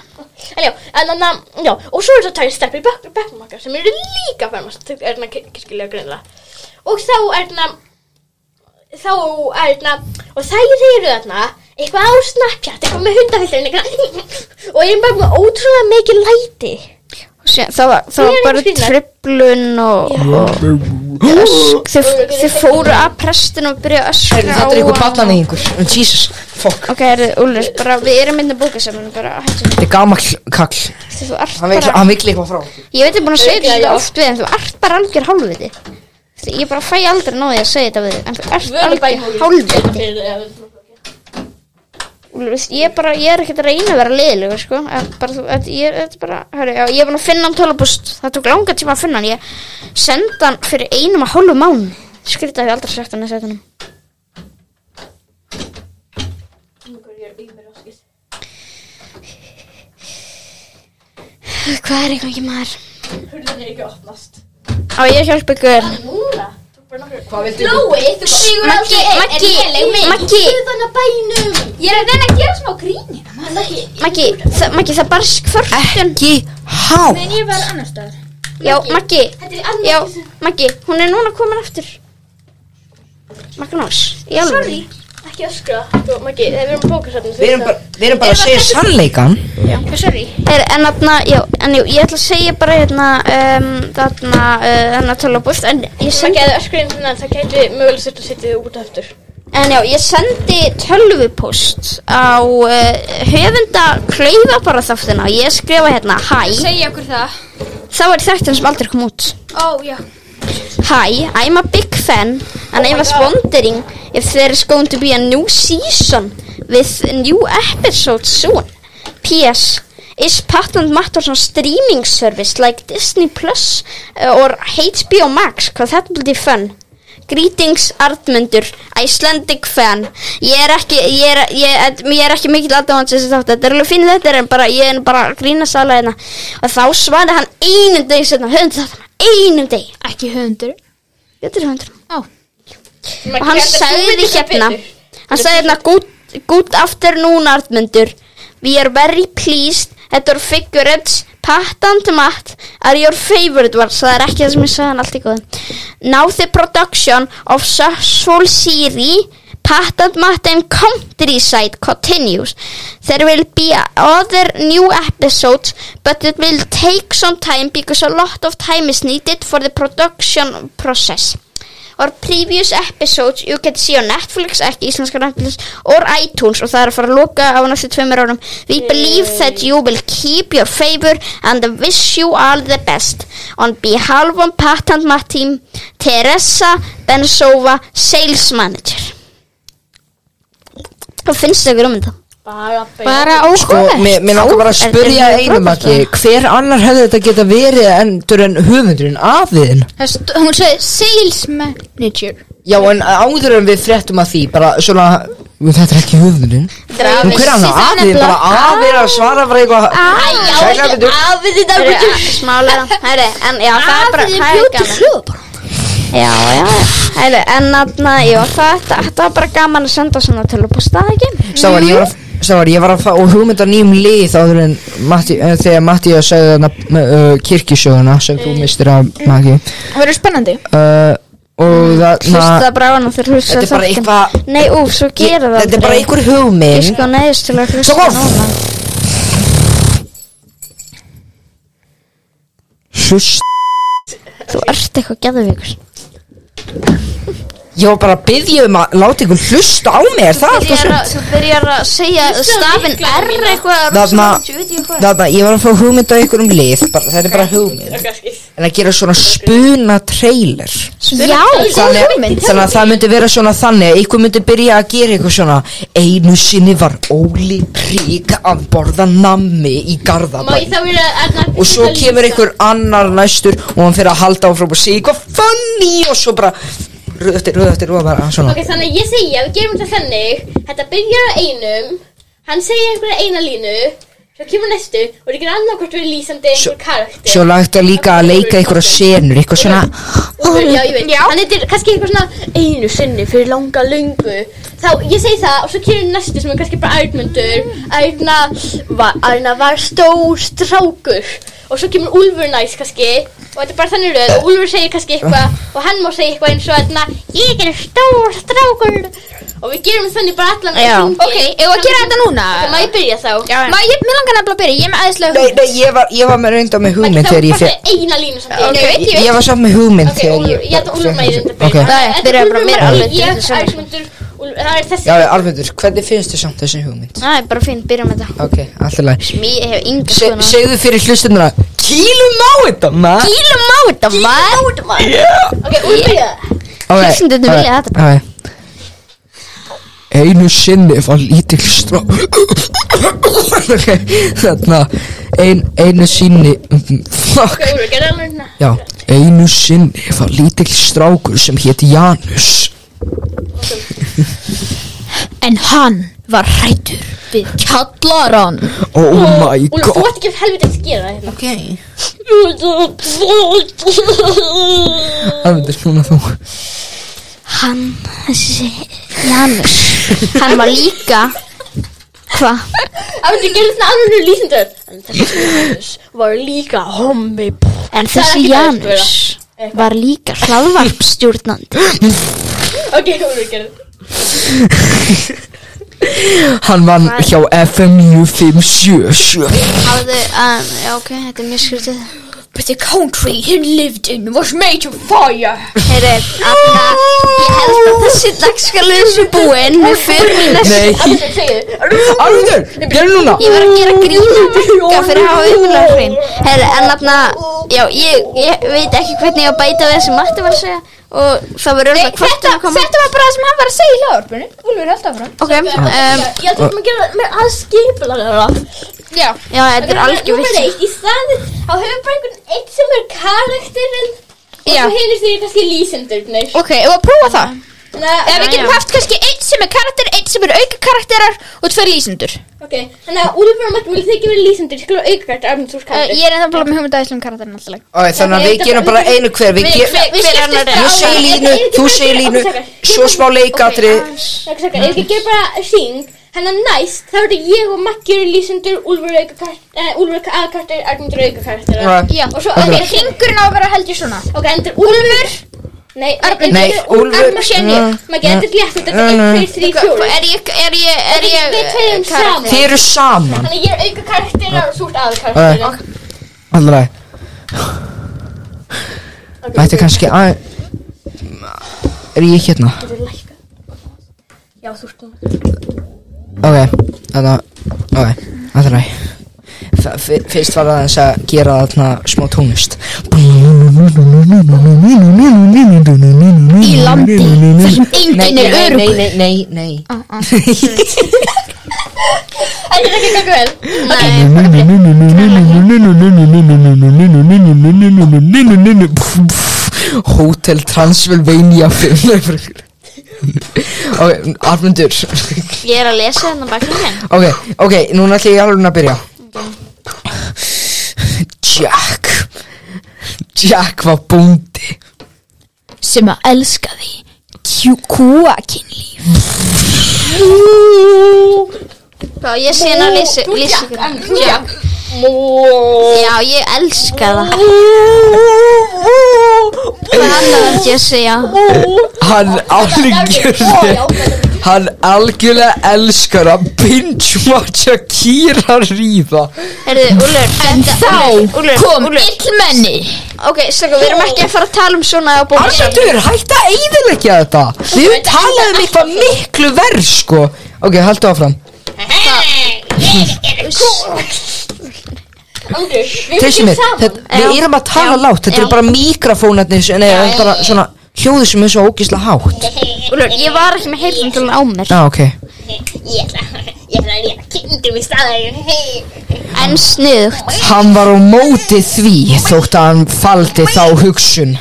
D: En já, en þannig að, já, og svo er það tæri steppi bekknum okkar sem eru líka að fermast, þau er hérna kirkilega greinlega. Og þá er hérna, þá er hérna, og þær eru þarna, eitthvað á snappjart, eitthvað með hundafyllurinn, eitthvað, og erum bara með ótrúlega mikið læti.
F: Og síðan, Það var, það var
D: Ég er
F: bara
D: fínleg.
F: tripplun og, og ösk, þau, þau fóru að prestin og byrja að öskra
B: Heyrðu, Þetta er
F: á
B: ykkur
F: hann.
B: ballan í ykkur Jesus, fuck
F: Ok, heyrðu, Úlur, bara við erum myndin að bóka saman bara að hættu
B: Þetta er gamal kall
F: Þú ert
B: Hann vill-
F: bara,
B: hann vill eitthvað frá okkur.
F: ég veit ég er búin að segja
D: Örugglega,
F: þetta
D: já.
F: svo oft við en þú ert bara algjör hálfviti Þú- Ég bara fæ aldrei náði að segja þetta við þig en þú ert algjör hálfviti Úlfur, veist, ég, er bara, ég er ekkert að reyna að vera liðlegur sko. En bara, þú, að, ég, þetta er bara, hörru, já, ég er búin að finna hann tölupúst það tók langa tíma að finna hann ég sendi hann fyrir einum að hálfu mán skrýta að ég aldrei sagt hann að setja hann hvað er einhvern veginn maður
D: Hurðin er ekki að opnast.
F: á ég hjálpa ykkur
D: Núna, þú bara nokkur.
B: Hvað viltu
D: Lói, þú sigur á
F: Maggi,
D: þig,
F: Maggi, Maggi.
D: Hurðan að bænum. Ég er að reyna að gera smá grín. Maggi,
F: Maggi, það, Maggi, það barsk förtun
B: Ekki há
C: En ég var annar staðar.
F: já, Maggi,
D: þetta er annað
F: já, Maggi hún er núna komin aftur Magnús, í alveg
D: Sorry, ekki öskra Þú, Maggi, þegar við erum að bóka sérna
B: Við erum bara, við erum bara að segja sannleikan
D: Sorry
F: Er, en þarna, já, en jú, ég ætla að segja bara hérna, um, þarna, uh, þarna tölvupúst, en ég
D: Maggi,
F: sendi,
D: eða öskra inn þannig að það gæti mögulega sérna að setja þig út aftur
F: en já, ég sendi tölvupúst á uh, höfunda klauða bara þáttina og ég skrifa hérna, hæ,
C: Segja okkur það.
F: það var í þættin sem aldrei kom út.
C: Ó, já.
F: Hi, I'm a big fan and I was wondering if there is going to be a new season with new episodes soon. P.S. Is Patent Matters on streaming service like Disney Plus uh, or HBO Max? Because that will be fun. Greetings Artmundur, Icelandic fan Ég er ekki, ég er, ég, ég, ég er ekki mikill aðdáðan sem þátt Þetta er alveg fín þetta er en bara, ég er bara að grína sála hérna Og þá svaraði hann einum degi setna, höfundur þáttan, einum degi
C: Ekki höfundur.
F: Þetta er höfundur
C: Ó.
F: Og hann sagði hérna Hann sagði hérna Good, good afternoon Artmundur We are very pleased that your figurines Patent Matt are your favorite ones Það er ekki það sem ég sagði hann allt í góðum Now the production of successful series Patent Matt and Countryside continues There will be other new episodes But it will take some time Because a lot of time is needed For the production process or previous episodes you can see on Netflix, ekki íslenska Netflix or iTunes og það er að fara að loka á næstu tveimur árum We believe that you will keep your favor and wish you all the best on behalf of Patent Matt team Teresa Bensova Sales Manager Hvað finnst þau um þetta?
D: Bara
F: Bara
B: Sko,
F: ókvæmt
B: mér, mér langar bara að spyrja einum ekki Hver annar hefði þetta geta verið endur en höfundurinn afiðin?
C: Hún sagði sales manager.
B: Já, en áður en við fréttum að því Bara svona, þetta er ekki höfundurinn Nú hver annar afiðin, bara afið að svara bara eitthvað Sækla betur
D: Afið þetta
F: ah, Smálega, herri, en já, það er bara Það er gaman Já, já, já. herri, en aðna, já, það, það, það var bara gaman að senda svona til að bústa það ekki
B: Sávar, ég var
F: Mhm.
B: að Sávar, ég var að fá og hugmynda nýjum lið áður en Matti, eh, þegar Matti að eh,
F: Mm.
B: segja þarna uh, kirkjusöguna sem þú mistir að Maggi
C: Það verður spennandi.
B: uh, og þarna
F: Mm. Hlusta bráðan og þeir
B: Þetta
F: hlusta
B: er bara
F: þáttinn.
B: eitthvað-
F: Nei, úf, svo
B: Ég-
F: gera það
B: Þetta er bara
F: aldrei.
B: einhver hugmynd
F: Ég sko neðist til að hlusta
B: Svo kom-
F: núna
B: Hust
F: Þú ert eitthvað geðvíkur
B: Ég var bara að byggja um að láta ykkur hlusta á mig Er það alltaf svo?
F: Þú byrjar að segja stafinn R eitthvað
B: Þarna,
F: Ég veit ég hvað
B: þarna, ég var að fá hugmynd á ykkur um lið bara, Þetta er bara hugmynd
D: Ok, skil.
B: En að gera svona spuna trailer
F: Já,
B: þannig, þannig að það myndi vera svona þannig að ykkur myndi byrja að gera eitthvað svona Einu sinni var Óli Prík að borða nammi í
D: Má ég
B: Garðabæn
D: þá vera Erna
B: Og svo kemur ykkur annar næstur og hann fyrir að halda áfram og segja eitthvað funny og svo bara Röð eftir, röð eftir, röð bara svona
D: Ok, þannig að ég segja, við gerum þetta þannig Þetta byrjar á einum Hann segir einhverja eina línu Svo kemur næstu og þetta er annað hvort verið lýsandi
B: Svo-
D: einhver karakter
B: Svo lagt að líka að leika einhverja senur Eitthvað svona
D: Úlfur, Já, ég veit Þannig þetta er kannski eitthvað svona einu sinni fyrir langa löngu Þá, ég segi það og svo kemur næstu sem er kannski bara Arnmundur Arna var, Arna var stór strákur Og svo kemur Úlfur næst kannski Og þetta er bara þannig röð Og Úlfur segir kannski eitthvað Og hann má segja eitthvað eins og þarna Ég er stór strákur Og við gerum þannig bara allan
F: Já.
C: Ok, ef að gera þetta núna
D: Það má ég byrja þá Já,
C: Má ég, mér langar nefnilega að byrja, ég er með aðeinslega
B: Nei, nei, ég var, ég var með reynda með hugmynd
D: Það
B: þegar
D: var
B: ég fyrir
D: bara eina línu samt
C: Ok, ég veit,
B: Ég,
C: ég
B: ég var samt með hugmynd
D: Ok,
B: þegar
D: Úlfur, ég held að Úlfur mæri þetta
B: Ok.
D: byrja
F: Nei, byrja bara mér alveg, þetta er
D: Ég,
F: sama.
D: Arnmundur, Úlfur, það er þessi
B: Já, já, Arvindur, hvernig finnst þér samt þessi hugmynd?
F: það er bara fín, byrja með það
B: Ok, alltaf læg
F: Mér hef yngur
B: Se,
F: skoðan á
B: Segðu fyrir hlustundina Kýlum á þetta, maður
F: Kýlum á þetta, maður
D: Ok, Úlfur, byrja
F: hlustendurnir vilja þetta
B: bara Einu sinni var lítill strá Ok, þarna ein, Einu sinni Fuck
D: Ok, Úlfur, gerðu alveg hérna
B: Já, einu sinni var lítill strákur sem hétt Janus
C: En hann var hrættur við kjallaran
B: Oh my
D: Úlfur, þú
B: god
D: ert ekki fyrir helviti að skera hérna
B: Ok
D: Úlfur,
B: Arvindur, núna þú
F: Hann, þessi Janus Hann var líka Hva?
D: gerðu svona alveg lýsindur En þessi Janus var líka hommi
F: En
D: er
F: þessi
D: ekki best
F: Janus var líka hlaðvarpstjórnandi
D: Ok, Úlfur, gerðu
B: Hann vann hjá FM 9577
F: Hafðu, um, já ok, þetta er mjög skrítið
C: But the country he lived in was made of fire
F: Heyri, aðna, ég held að þessi dagskalið sem búinn Við fyrir í næstu
B: Nei,
D: Úlfur, segðu
B: Arvindur, gerðu núna
F: Ég var að gera grína brekka fyrir að hafa umlega hrein Herri, en þarna, já, ég, ég veit ekki hvernig ég á að bæta við það sem Matti var að segja Og það var örgulega hvort
C: Þetta,
F: um að koma
C: þetta var bara það sem hann var að segja í lagarpinu Úlfur held áfram
F: Ok, um,
D: Ég held að maður gera með aðskipla þeirra
C: Já
F: já, þetta er algjör
D: Númer
F: vitt
D: eitt, í staðin Þá höfum bara einhvern eitt sem er karakterinn Og
C: Já.
D: svo hinir þeir kannski lýsindurnir
C: Ok, ef að prófa það Eða við
D: Þannig
C: getum haft kannski einn sem er karakter, einn sem er auka karakterar og tvær lýsendur
D: að Úlfur og Matti vil þeir ekki vera lýsindur Skilur aukarkart, Arnmundur,
C: uh,
D: karakter
C: Ég er ennþá bara með hugmynda aðeinslega um karakterin alltaf
B: Ó, Þannig að við gerum bara einu hver Við gerum
C: Hver, hver annar
B: Ég segi línu, þú segi línu Svo smá leikatri
D: Ekki sakar, ef ég ger bara syng Þannig að næst, þá er þetta ég og Maggi eru lýsendur eh, Úlfur aðkartir, Arnundur aukarkartir
B: Já.
D: Og svo,
B: Þetta
D: ok,
B: er-
D: syng
C: Hringurinn á að vera held ég svona
D: Ok, endur Úlfur Nei, Arnundur
B: Nei, Úlfur
D: Arnundur sé nýr Maggi, þetta er létt, þetta er 1, 2, 3,
C: Er
D: 4
C: ég, er ég, er ég
F: eh,
D: Við tveim saman
B: Þið eru saman
D: eh, Þannig að ég er aukarkartir og þú ert aðkartir
B: Andra Mættu kannski að Er ég hérna?
D: Já, þú ert
B: Ok, þarna Ok, andra Fyrst var aðeins að gera þarna smá tónlist Í
C: landi þar sem enginn er
B: Nei,
C: öruggur.
B: nei, nei, nei
D: Þetta er ekki gangu vel
B: Hotel Transylvania 5 Ok, Armundur
F: Ég er að lesa þarna baki mér
B: Ok, ok, núna ætla ég alveg að byrja Jack Jack var bóndi
C: Sem að elska því Kúakinlíf
F: Já, ég sé hann að lesa, lesa ykkur
D: Jack Mú.
F: Já, ég elska það Hvað annað er ég að segja
B: Hann algjörlega Hann algjörlega elskar að binge watcha kýra ríða
F: Herðu, Úlur, þetta
E: Þá kom illmenni
F: Ok, stakka, við erum ekki að fara að tala um svona á bóðum
B: Arnaldur, hætt að eyðilegja þetta Við höfum talað um eitthvað miklu verð sko Ok, haldu áfram
D: Andri, við
B: Þessi
D: erum
B: mér,
D: saman.
B: þetta, við erum að tala lágt Þetta eru bara mikrofónarnir Nei, það er bara svona hljóðu sem er svo ógisla hátt
F: Úlur, ég var ekki með heyrðum til á mér
B: Já, ok
G: Ég ætla, ég ætla að léna kindum í staðarinn. Hei,
F: En sniðugt
B: Hann var á móti því þótt að hann faldi þá hugsun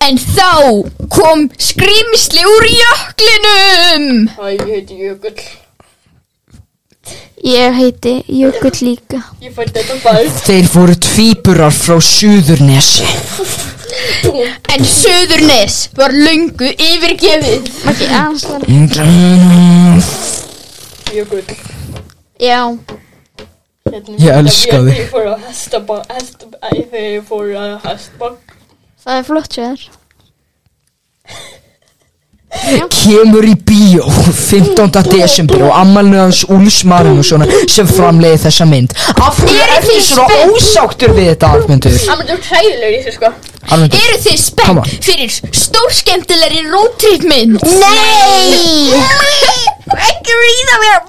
E: En þá kom skrimsli úr jöklinum
D: Æ, ég heiti Jökull.
F: Ég heiti Jökull líka
D: Ég fætti þetta bæð.
B: Þeir fóru tvíburar frá Suðurnesi
E: En Suðurnes var löngu yfirgefið
F: Maggi, aðeins var
D: Jökull.
F: Já,
D: Hérna,
B: Ég elska þig.
D: Ég fór á hestabang, hestabang, æ, þegar ég fór á hestabang.
F: það er flott sér
B: Kemur í bíó 15. desember og ammalinu hans Úls Marinusson sem framleiði þessa mynd Af hverju er þið svona ósáttur við þetta, Arnmundur?
D: Amandur hræðilegur í þessu sko.
B: Arnmundur,
E: Eru þið
B: Come
E: spennt
B: on.
E: fyrir stórskemmtilegri róttrýtmynd?
F: Nei
E: Ekki ríða mér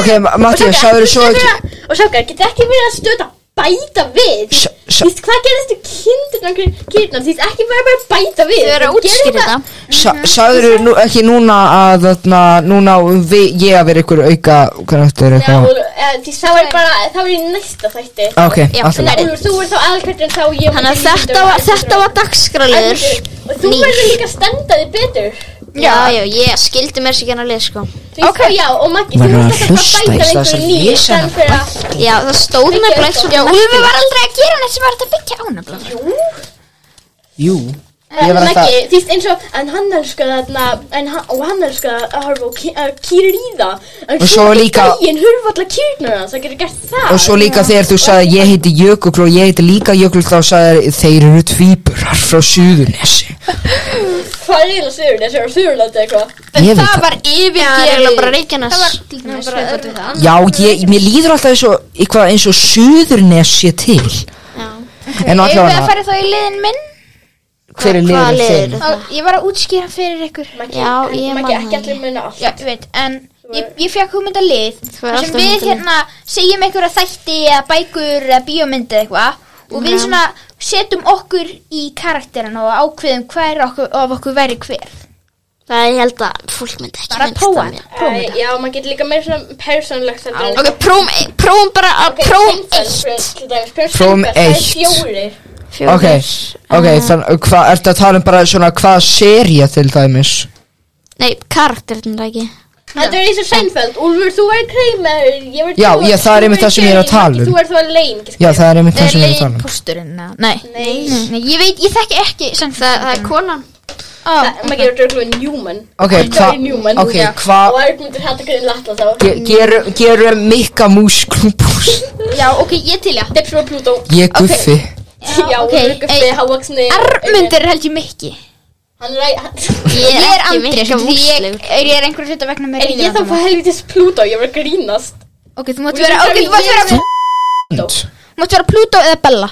B: ok, Mattias, það eru svo ekki
D: Og sákar, getur ekki verið að stöða bæta við
B: Sj- sj-
D: Þú veist, hvað gerðist þú kindurna kýrna Þú veist, ekki verið bara að bæta við
F: Þau eru að
D: Þú gerir það-
F: útskýra þetta
B: Sa- Sagðirðu nú, ekki núna að þarna, núna við, ég að vera ykkur auka karakter
D: Já,
B: eitthvað
D: og, eh, Því það var bara, það var í næsta þætti
B: Ok,
F: Já,
B: alltaf
D: Þannig að Úlfur, þú verður þá aðalkvæmdinn þá ég
F: Þannig að þetta var, þetta var dagskraliður
D: Og þú
F: Nýr.
D: verður líka að standa þig betur
F: Já, já, ég skildi mér sér ekki hann að lesa sko
D: Því okay. sko, já, og Maggi, þú
B: Verður að
D: verður alltaf
B: hlusta
D: að
B: í stað þess
D: bæta við
B: að
D: einhverju nýju
B: lesa hana.
D: Þannig fyrir að,
F: Já, það stóð nefnilega ekki
E: Já,
F: svona
E: Úlfi var aldrei að gera neitt sem var hægt að byggja ánabla
B: Jú, ég var
D: en
B: alltaf
D: eh, Maggi, þú veist, eins og En hann elskar þarna, en hann- og hann elskar að horfa og kýra í það En
B: Og svo
D: svo
B: líka-
D: Gæinn hurfa allar kýrnar hans, það getur gert það
B: Og svo líka þegar þú sagði að ég heiti Jökull og ég heiti líka Jökull þá sagði þeir eru tvíburar frá Suðurnesi
D: Hvað er eiginlega sögur þessi á Suðurlandi eitthvað?
B: Ég veit
E: Það
B: það
E: var
F: eiginlega bara
E: yfirgefið
F: Reykjanes
E: Það var til dæmis svipað við það.
B: Já, ég, mér líður alltaf eins og, eitthvað eins og Suðurnes sé til En
F: Já.
E: Eigum við að
B: allavega,
E: fara þá í liðin minn?
B: hver er
F: Hvaða
B: liður
F: liður?
B: þinn?
E: Þá- Ég var að útskýra fyrir ykkur
F: Já, ég man
D: Maggi,
F: það
D: ekki
F: ekki
D: allir muna allt
E: Já, ég veit, en ég, ég fekk hugmynda lið
F: var
E: þar sem
F: alltaf
E: við
F: hugmyndalið.
E: hérna segjum einhverja þætti eða bækur eða bíómyndi eða eitthvað og við svona setjum okkur í karakterin og ákveðum hver okkur, of okkur væri hver
F: Það er ég held að fólk myndi ekki
E: bara að prófa
F: það
E: þetta
D: Æ, Já, maður getur líka meira svona persónulegt heldur en-
F: Ok, prófum, prófum bara að prófum
D: Simfell, til dæmis, Prjóum
B: Prófum
D: Simfell, það er
B: eitt.
D: fjórir.
F: Fjórir.
B: Ok, ok, þannig, hvað, ertu að tala um bara svona hvaða serja til dæmis?
F: Nei, karakterinn er það ekki
D: Þetta er eins og Seinfeld, Úlfur, þú er kreimer Ég var
B: Já,
D: George,
B: já, það er
D: þú
B: einmitt það sem ég er að
D: Jerry,
B: tala um.
D: Þú er þá lein
B: Já, það er einmitt það sem ég er að tala um
E: Leginpósturinn, nei.
D: Nei.
E: nei Nei, Ég veit, ég þekki ekki sem
F: Það, það er konan
D: Maður gerir dörglu Newman
B: Ok,
D: Það er
B: hva,
D: Newman
B: ok,
D: Já. Og
B: hvað,
D: Arnmundur hætti greið latla þá
B: gerum, gerum mikka mús klúbús
E: Já, ok, ég til já
D: Depp sem var Pluto
B: Ég guffi
D: Já,
E: ok,
D: Úlfur Guffi,
E: ei,
D: Hávaksni
E: Armundur er held ég mikki
D: Hann er að
E: Ég er
F: mikka
E: andri, því ég,
F: múslegur.
E: ég er einhverju hluta vegna með
D: Er ég þá
E: reyðina
D: hvað helvitis Pluto, ég var að grínast
E: Ok, þú mátt
D: Úlfur,
E: vera, ok,
D: ég-
E: þú mátt vera
D: Þú-
E: Þú mátt vera Pluto eða Bella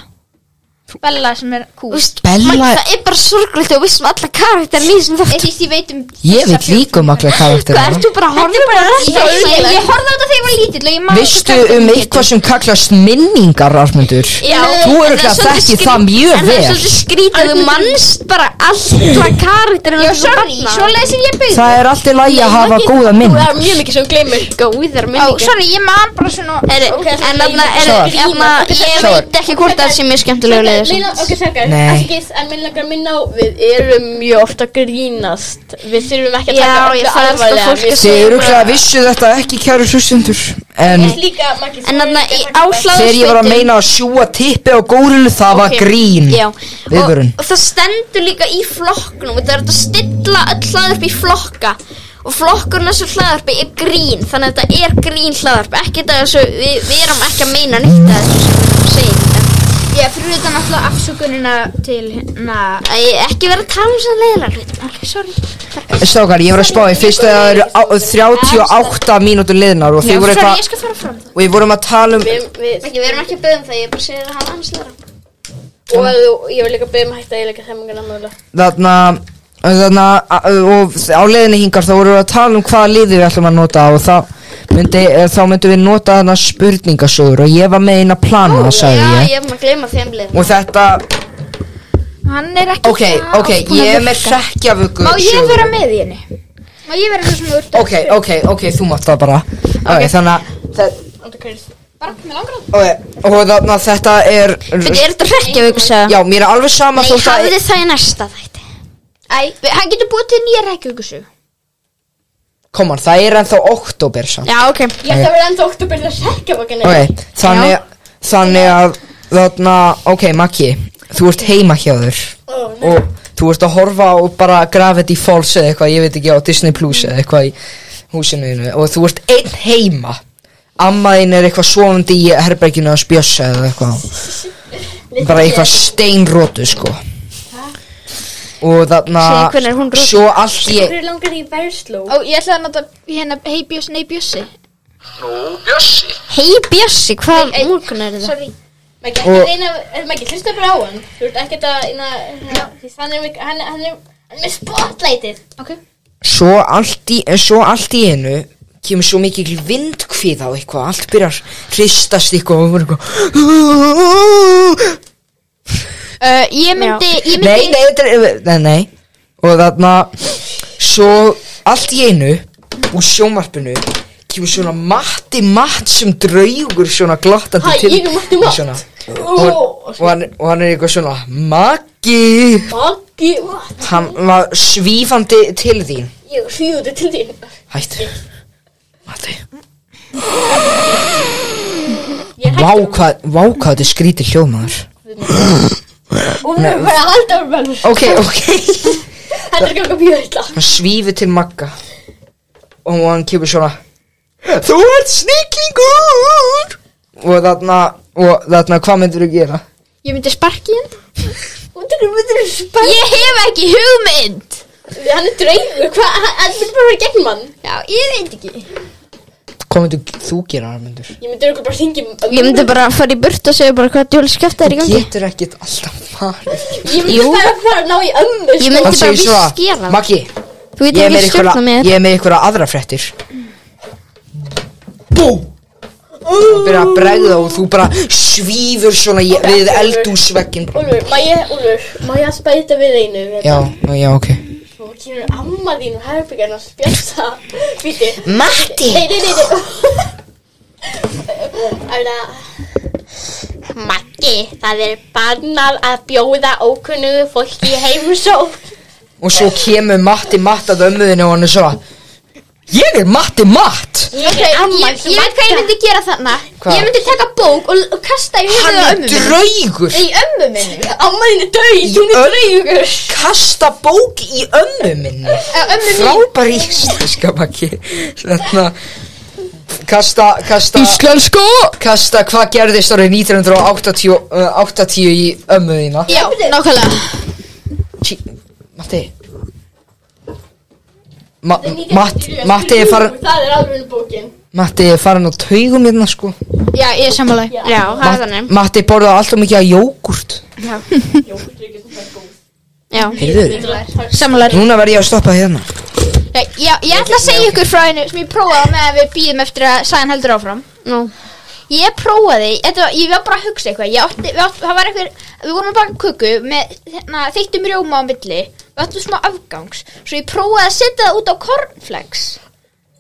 E: Bella sem er kú
F: Úst,
B: Bella-
F: Maggi, Það er bara sorglegt og vissum um alla karakterinn í þessum
E: Ég
F: þáttum
E: finnst ég veit um
B: Ég
E: þessa
B: veit líka um alla
F: Hvað
B: karakterina
F: ertu bara að
E: Þetta er
F: horfa
E: bara
F: bara
E: Ég, ég, ég horfði á þetta þegar ég var lítill og ég man
B: Vistu um eitthvað sem kallast minningar, Armundur?
F: Já,
B: Þú
F: en
B: eru ekki
F: það er
B: að
F: svolítið
B: þekki
F: skrít-
B: það mjög
F: En það er
B: vel
F: svolítið skrítið, þú mannst bara alla karakterinn
E: Já, sorry, svo leiðis er ég byggð
B: Það er allt í lagi að hafa góða
D: Þú
B: mynd
D: er mjög mikið sem gleymir
F: góðar
E: Ó,
F: minningar
E: sorry, ég man bara svona
F: Heri,
D: Ok,
F: en þarna er,
B: Sjáðu.
F: þarna, ég
B: Sjáðu.
F: veit ekki hvort það sé mjög skemmtilega leiður
D: Mér langar- Ok, þakkar,
B: Nei.
D: ekki, en mér langar að minna á Við erum mjög oft að grínast Við þurfum ekki að
F: Já,
D: taka öllu
F: ég þarf alltaf
D: alvarlega.
F: fólk að
D: Við-
B: Þið eru ekki að vissu þetta ekki kæru hlustundur En
D: Líka, Maggi,
F: En
D: þú
F: þarna
D: er ekki að
F: í
D: taka þetta.
F: áhlaðarsveitum
B: þegar ég var að meina að sjúa tippi á gólinu það var
F: Ok.
B: grín
F: Já, og,
B: Viðvörun
F: og það stendur líka í flokknum og það er hægt að stilla öll hlaður upp í flokka og flokkurinn þessu hlaðarpi er grín þannig að þetta er grín hlaðarpi ekki þetta þessu, við, við erum ekki að meina nýtt að þessu sem við erum að segja þetta.
E: Ég fyrir þetta náttúrulega afsökunina til hérna
F: Æ, ekki vera að tala um svona leiðilega hlut Marga, sorry
B: Strákar, ég var að spá í fyrst að það eru á- 38 mínútur liðnar og þið voru
E: Sorry, ég
B: eitthvað
E: skal fara fram
B: og við vorum að tala um
D: Við, við,
F: Ekki, við erum ekki að byggja um það, ég er bara að segja það hann hans leiðar
D: og þú- ég vil líka beðum að hætta eiginlega þemmingana mögulega.
B: þarna þarna og á leiðinni hingar þá vorum við að tala um hvaða liði við ætlum að nota og það myndi, eh, þá myndum við nota þarna spurningasögur og ég var með eina plana, sagði
F: Já,
B: ég
F: ég er maður að gleyma þeim leiðar
B: og þetta,
E: Hann er ekki
B: ok, ok, ég er með hrekkjavöku
E: Má ég vera með í henni? Má ég vera svo svona úr
B: Ok, ok, ok, þú mátt það bara okay. Þannig að þe- ok, Og þannig að þetta er
F: Fyrir, er þetta hrekkja við ykkur
B: Já, mér er alveg sama
F: Nei,
B: þótt að
F: hafði það í næsta þætti
E: Æ, við- hann getur búið til nýja reykjökusug
B: Koman, það er ennþá oktober samt
F: Já, ok
D: Ég ætti að vera enda oktober að sækja bakinni.
B: Ok, þannig, þannig að Þannig að, ok, Maggi Þú ert heima hjá þér Og þú ert að horfa á bara Gravity Falls eða eitthvað, ég veit ekki á Disney Plus eða eitthvað í húsinu þínu Og þú ert einn heima Amma þín er eitthvað svovandi í herberginu að spjössa eða eitthvað Bara eitthvað steinrótu sko Og þarna
F: Segðu hvenær hún rótu.
B: Svo allt í
D: Hverju langar í versló?
E: Ó, ég ætlaði að nota hérna hei bjössi, nei bjössi
F: Hei Bjössi, hvað múlkun er það?
D: Sorry. Maggi,
B: Og-
D: ekki reyna, Maggi, hlusta bara á hann. Þú ert ekkert að, inna, því hann er, mik- hann, hann er, hann er með spotlightið.
E: Ok
B: svo allt í, en svo allt í einu kemur svo mikil vindkvið á eitthvað allt byrjar hristast eitthvað og maður eitthvað
E: uh, Ég myndi, ég myndi
B: nei, nei, þetta er eh, nei, nei og þarna svo allt í einu úr sjómarpinu kemur svona matti matt sem draugur svona glottandi
D: Hæ,
B: til
D: ég er Matti Matt.
B: svona,
D: Ó,
B: og, hann, og hann er eitthvað svona Maggi
D: Maggi, what?
B: hann var svífandi til þín
D: Ég hrjúði til þín.
B: hættu Matti
D: Ég er
B: Vá hvað, vá hvað þetta er skrítið hljómaður
D: hægt og við erum bara að halda um hann.
B: Ok, ok
D: Þetta er ekki eitthvað mjög illa.
B: Hann svífur til Magga Og hann kemur svona Þú ert snikkingur Og þarna, og þarna, hvað myndir þú gera?
E: Ég myndi sparki hinn
D: Þetta er, þetta er spæð.
E: Ég hef ekki hugmynd
D: Hann er draugur, hvað, hann- hann er bara að vera gegn mann.
E: Já, ég veit ekki
B: Hvað myndir þú gera, Armundur?
D: Ég myndi örugglega bara hringi
F: Ég myndi bara að fara í burt og segja bara hvað djóli skefta er í gangi
B: Getur ekkert alltaf farið
D: Ég myndi bara að fara að ná í ömmu
F: Ég
D: sko.
F: myndi-
B: Hann
F: bara
B: segir
F: viski
B: svona
F: hérna.
B: Maggi,
F: Þú veit
B: ég er
F: ekki
B: með
F: stjórna
B: einhverja
F: mér
B: Ég er með einhverja aðra fréttir Bú Þú byrjar að bregða og þú bara svífur svona í- við eldúsveggin
D: Úlfur, má ég, Úlfur, má ég að spæta við einu?
B: Já, já, ok
D: Svo kemur amma þín og herbyggjarn að spjassa. Víti,
F: Matti
D: Nei, nei, nei, nei Æra Maggi, það er bannað að bjóða ókunnugu fólki í heimsó
B: Og svo kemur Matti Matt að ömmuðinu og hann er svona Ég er Matti Matt
D: Ég er amma
E: Ég veit hvað ég myndi gera þarna
B: Hvað?
E: Ég myndi taka bók og, og kasta í
B: Hann
E: höfuðu á
B: er
E: ömmu minni
B: draugur
E: Nei, í ömmu minni
D: Amma þín er döið, hún er draugur
B: Kasta bók í ömmu minni
E: Eða ömmu minni
B: Frábær íslenska Maggi Svona Kasta, kasta
C: Íslensku
B: Kasta hvað gerðist árið 1980 eh, í ömmu þína
E: Já, nákvæmlega
B: Tí- Matti Ma, Matti, Matti er farin
D: Það er alveg bókin
B: Matti er farin á taugum hérna sko
E: Já, ég er sammála
F: Já, það er þannig
B: Matti borðaði alltaf mikið af jógurt
F: Já,
B: Heyrðu
E: Sammála
B: Núna verð ég að stoppa hérna
E: Já, já, ég ætla að segja ykkur frá einu sem ég prófaði með að við býðum eftir að sæðan heldur áfram
F: nú
E: Ég prófaði, þetta, var- ég var bara að hugsa eitthvað Ég átti, við átti, það var eitthvað Við vorum að baka köku með hérna, þeittum rjóma á milli Við áttum smá afgangs Svo ég prófaði að setja það út á cornflakes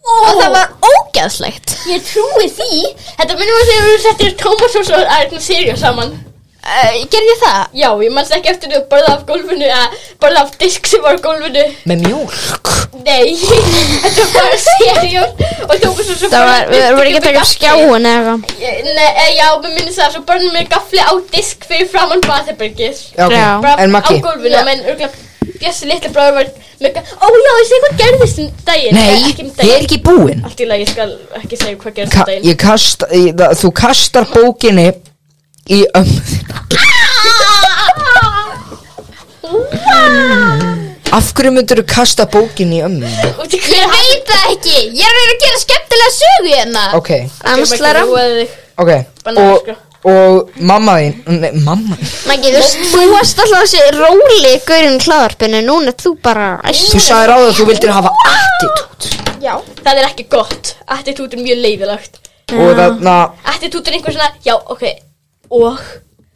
E: Og það var ógeðslegt
D: Ég trúi því Þetta minnum að þegar við settir Tómas og svo Arna Sirius saman
E: uh, Gerði ég það?
D: Já, ég manst ekki eftir því að borða af gólfinu að borða af disk sem var á gólfinu
B: Með mjólk
D: Nei, þetta var bara Sirius og Tómas og svo
F: Það var, við vorum ekki að taka upp skjáin eða eitthvað
D: Ég- Nei, eh, já, mér minnst það, svo börnum mér gafli á disk fyrir framann baðherbergis
B: Já, ok.
F: Já.
D: Bara
B: En
D: á
B: Maggi,
D: gólfinu, menn örgulega Bjössi litli bróður var mega Ó já, ég segi hvað gerðist um daginn
B: Nei,
D: Eh, ekki um
B: ég er
D: daginn
B: ekki búinn
D: Allt í lagi, ég skal ekki segja hvað gerðist
B: Ka
D: um daginn
B: ég kast, ég, það, Þú kastar bókinni Í ömmu þína.
D: Ah!
B: Af hverju myndur þú kasta bókinni í ömmu? þína?
D: Út í
E: Ég
D: hver
E: veit það ekki, ég er að vera að gera skemmtilega sögu hérna
B: Ok,
F: Annars læra
B: ok
D: Ah. Banana,
B: Og,
D: sko.
B: og mamma þín Nei, mamma
F: Maggi, þú veist, þú varst alltaf þessi róli gaurinn í hlaðarpinu Núna ert þú bara
B: Þú sagði ráða að þú vildir hafa attitút
D: Það er ekki gott Attitút er mjög leiðilagt
B: Og þarna
D: Attitút er einhver svona Já, ok Og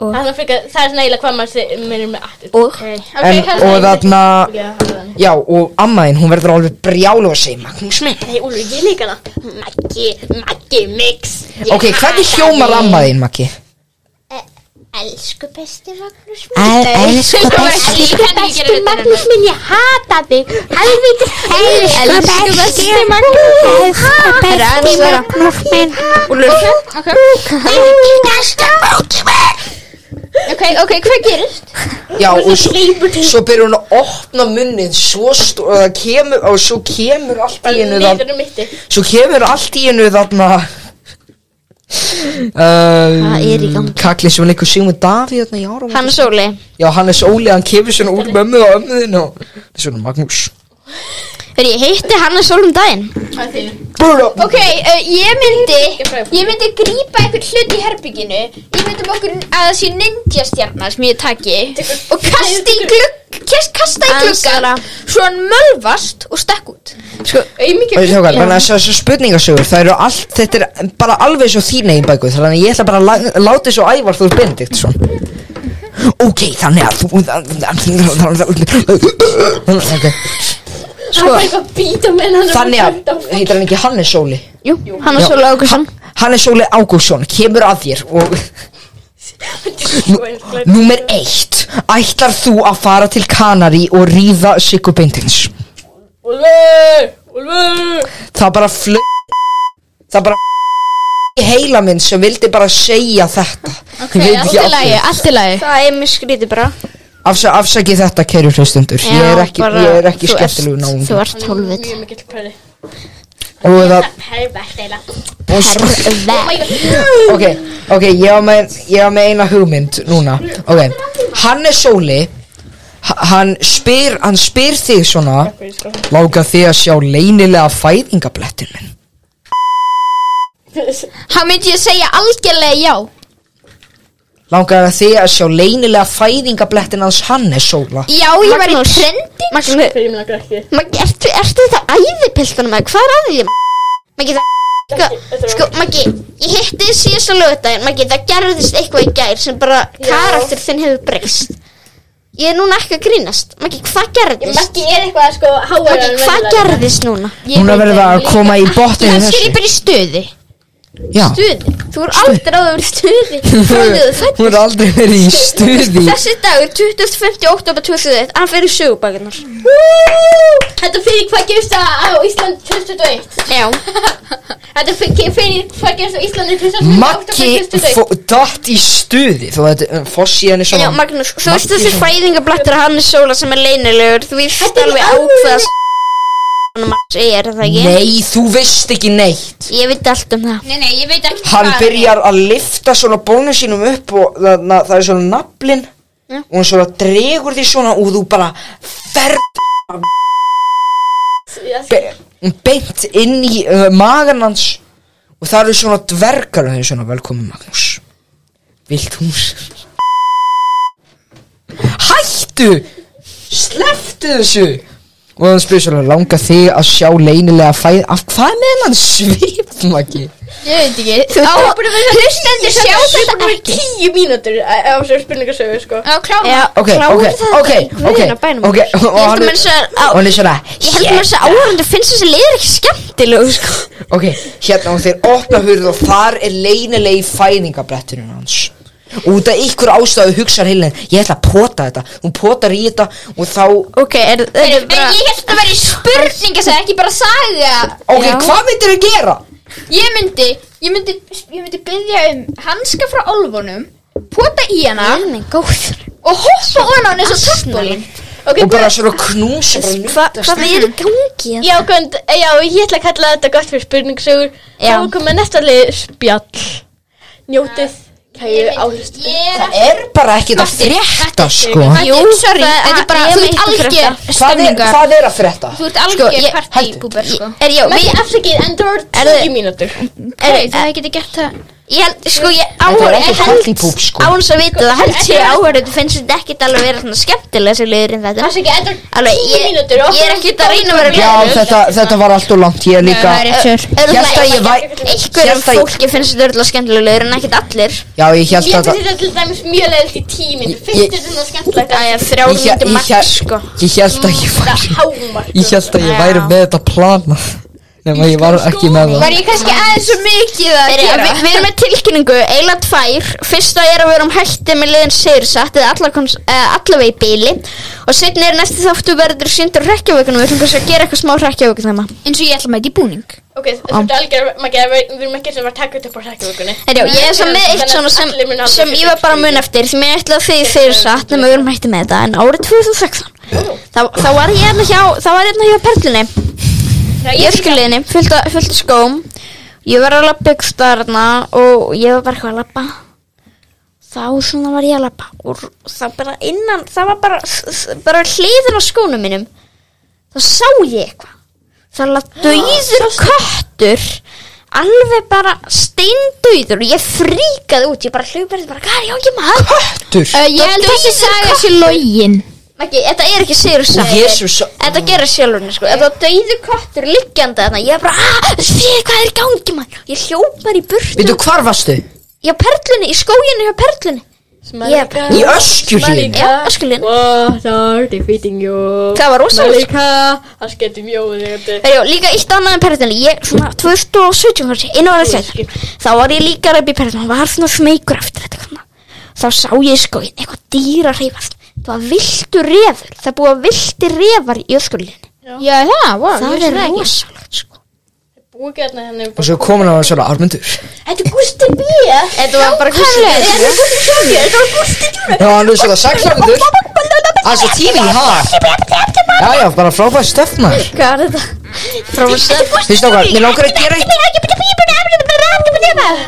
D: Það er svona frekar Það er svona eiginlega hvað maður segir Minnir með attitút
F: Og?
D: okay,
B: en, Og þarna
D: þarna
B: Já, og amma þín, hún verður alveg brjálu að segja Magnús minn
D: Nei, Úlur, ég líka hana
G: Maggi, Maggi Mix Ég
B: Ok, hvernig
G: hata
B: hljómar
G: þig.
B: amma þín, Maggi?
G: Elsku besti Magnús
B: Elsku
F: sko,
G: Elsku besti Magnús minn, ég hata þig Helvítis Elsku besti Magnús Elsku besti Magnús minn
E: Ok,
G: Næsta bóki minn
E: ok, ok, hvað gerist?
B: Já, og svo, svo byrjar hún að opna munnið svo stór, og það kemur, og svo kemur allt í hennu
D: Leiður
B: þarna,
D: um mitti
B: svo kemur allt í hennu þarna,
F: Hvað er í
B: um,
F: gangi?
B: kallið sem leikur Sigmund Davíð þarna í árum.
F: Hann Sóli
B: Já, Hannes Óli, hann kemur svona úr mömmu og ömmuðin og það er svona Magnús.
F: Þegar ég heitti hann að Sóli um daginn
B: Búrra!
E: Ok, uh, ég myndi, ég myndi grípa einhvern hlut í herbygginu Ég myndi um okkur að það sé ninja stjarnar sem ég taki Og kasta í glugg, kast- kasta í
F: Ansara.
E: gluggan Svo hann mölvast og stekk út
B: Og ég tókar, þannig að þessar þessar spurningasögur, það eru allt, þetta er bara alveg svo þín eigin bækur, þannig að ég ætla bara að lá- láta svo ævar þú bendikt svona. Ok, þannig að þú... Ok,
D: Það er eitthvað að býta með hann
B: Þannig að, heitir hann ekki Hannes Óli?
F: Jú, hann að
B: Já.
F: Sóli Ágursson
B: Hannes Óli Ágússon kemur að þér og Númer eitt Ætlar þú að fara til Kanari og ríða Siggu Beintins?
D: Úlfur Úlfur
B: Það bara flög Það bara í heila minn sem vildi bara segja þetta Ok,
E: Allt í lagi, allt í lagi
F: Það er mjög skrítið bara
B: Afsa, Afsakið þetta, kæru hlustundur Ég er ekki, ég er ekki skemmtilegu
F: Þú
B: náum
F: ert hólfið
D: Mjög mikill perri
B: Og það
G: Helvert eila
B: og svo- Ok, ok, ég var með, ég var með eina hugmynd núna Ok, hann er sóli h- Hann spyr, hann spyr þig svona Láka þig að sjá leynilega fæðingablettin minn
E: Hann myndi ég segja algjörlega já
B: Láka þig að sjá leynilega fæðingablettin hans hann er sóla
E: Já, ég var í
F: Magnús.
E: trendi
F: Maggi,
D: Fyrir mig langar ekki
F: Maggi, ertu, ertu þetta æðipiltunum eða hvað er að því? Maggi, það sko, sko, Maggi, ég hitti þig síðast á lögudaginn Maggi, það gerðist eitthvað í gær sem bara karakter þinn hefur breyst Ég er núna ekki að grínast Maggi, hvað gerðist?
D: Maggi er eitthvað sko háar
F: Maggi, hvað gerðist núna?
B: Núna verður það að koma í botnið
F: Kannski er
B: þessu
F: ég bara í stuði
B: Já,
F: Stuði? Þú er aldrei áður verið í stuði Stuði, þú fætt
B: hún er aldrei verið í stuði
F: Þessi dagur, 25. oktober 2001, hann fer í sögubækunar
D: Þetta fyrir hvað gerist það á Ísland 2021
F: Já,
D: Þetta fyrir fyrir hvað gerist á Íslandi 2021
B: Maggi fó- datt í stuði Þú veit, fossíðan er
F: já,
B: svona
F: Magnús, þú veist
B: Maggi
F: þessi
B: svona-
F: fæðingablettur Hannes Sóla sem er leynilegur Þú veist alveg ákveðast Hann er það ekki
B: Nei, þú veist ekki neitt
F: Ég veit allt um það
E: Nei, nei, ég veit ekki
B: Hann
E: hvað-
B: byrjar að lifta svona bónu sínum upp og það, na, það er svona naflin og hann svona dregur því svona og þú bara ferð
D: sko.
B: be, beint inn í uh, magan hans og það eru svona dvergar og það er svona velkomin Magnús Vilt hús Hættu Sleftu þessu og hann spyrir svona langa þig að sjá leynilega fæð af hvað með hann svip Maggi
E: Á, hlustendur sjá þetta ekki
D: Tíu mínútur eh, á þessu spurningasögu sko
E: Já, kláma
F: Já,
B: ok, ok, ok, ok, ok og
F: Ég
B: hann
F: held að
B: er-
F: mér svo
B: og
F: að
B: hann er svona
F: Ég held að mér svo áhörundu finnst þessi liður ekki skemmtilegu sko.
B: ok, hérna og þeir opna hurð og þar er leynilegi fæðingabretturinn hans og út af ykkur ástæðu hugsar heilin ég ætla að pota þetta, hún potar í þetta og þá,
F: Ok, er þetta er
E: En
F: bara
E: ég held að það væri spurning að ekki bara saga
B: ok,
F: Já.
B: hvað myndir þau gera?
E: Ég myndi, ég myndi, ég myndi byggja um hanska frá álfunum Pota í hana
F: Nei, góður
E: og hoppa ofan á hann eins og töpulín
D: Ok,
B: og bara
D: guð-
B: svona knús
F: Hvað er í gangi?
D: Já, gund, já, ég ætla að kalla þetta gott fyrir spurningsögur Þá
F: Já.
D: er komið næsta lið spjall Njótið kæru álustu
B: Það er bara ekki það frétta sko
E: Jú, sorry,
F: það-
E: þetta er bara,
F: ég
E: þú
F: veit
E: ert
F: ekki
E: algjör
B: Hvað er,
E: stemningar Sko,
B: hvað er að frétta?
E: Þú ert algjör
F: ég-
E: partíbúber, sko
F: Er, já,
D: Mætti
F: við,
D: afsakið endur
F: Er
D: 10 mínútur
F: er,
E: Ef þið getur gett það
F: ég held, sko, ég
B: Þetta er
F: áhör,
B: ekki
F: ég held,
B: partypúb, sko.
F: án svo vita það, held ég áhör, þetta finnst þetta ekkit alveg vera svona skemmtilega sem liður inn þetta.
D: Afsakið endur
F: Alveg,
D: 10
F: ég,
D: mínútur og
F: ég er ekkit að reyna að vera
B: Já, þetta, þetta var allt og langt, ég líka
C: Það er rétt sér
F: Örugglega
B: Ég held að ég væ-
F: Einhverjum
B: Ég held að-
F: fólki finnst þetta örgulega skemmtilega liður en ekkit allir.
B: Já, ég
D: Ég
B: held að
D: finnst
B: það
D: þetta til dæmis mjög leðilt í 10 mínútur Finnst
B: Ég-
D: þetta svona skemmtilegt
F: Það er þrjár
B: Ég hélt-
F: myndir
B: ég
F: max,
B: hélt-
F: sko.
B: Ég held að ég var
D: að hámark
B: Ég held að ég væri með þetta planað Nefn að ég sko, var ekki með það
E: Var ég kannski aðeins svo mikið að
F: Við
E: gera?
F: við erum með tilkynningu, eiginlega tvær Fyrsta er að við erum hætti með liðin Sigursatt eða allaveg í bíli og setni er næsti þáttu verður síndur rekkjavökunum, við ætlum kannski að gera eitthvað smá rekkjavökun þema
E: Eins og ég ætla að mæta í búning
D: Ok, þetta er algjör Maggi, að við við erum ekki sem var takk upp á sækjavökunni
F: Herjá, ég er svo með eitt svona sem, sem ég var bara mun eftir því mér ætlaði að þið Sigursatt nema við erum hætti með þetta en árið 2016 þá, þá var ég hérna hjá, þá var ég hérna hjá Perlunni í öskuliðinni, fullt af fullt af skóm ég var að lappa ykkur starna og ég var bara eitthvað að lappa þá svona var ég að lappa og það bara innan það var bara, bara hliðin á skónum mínum þá sá ég eitthvað það var döður köttur alveg bara steindauður og ég fríkaði út ég bara hljóparði bara, hvað er ég á ekki maður?
B: Dur,
C: Ö, Ég held að þessi saga sé login
F: Maggi, þetta er ekki sigur satt
B: Jesús
F: Þetta gerir sjálfurinn sko Þetta döðu köttur liggjandi þarna Ég er bara, að, fyrir hvað er í gangi maður Ég hljópar í burtu
B: Veitu, hvar varstu?
F: Ég á perlunni, í skóginni hjá perlunni Ég er bara,
B: Í öskjulíðin
F: já, öskulinn
D: What are defeating you?
F: Það var rosalega sko
D: Malika, það skemmti mjóðu þegar
F: Herjó, líka eitt annað en perlunni Ég, svona, 2017 kannski, einu ára
D: Ég
F: þegar Þá var ég líka ræpi í perlunni Hann var svona smeykur eftir þetta kannar Þá sá ég í skóginni eitthvað dýra reyfast Það var viltu refur Það er búið að vilti refar í öskulinni
E: Já, það, wow,
F: Það
E: ég
F: er
E: vissi ekki.
F: rosalegt sko
D: Búkjarna henni
B: Og svo komin á hann svona armendur
D: Þetta er Gusti B hérna
F: Þetta var bara kussinlega
B: Já, hann er svona saksarmendur Það er svo tími í hafa Já, já, bara frábæð stöfnar
F: Hvað er þetta? Frá að segja
B: Fyrst okkar, mér langar að gera eitt Mér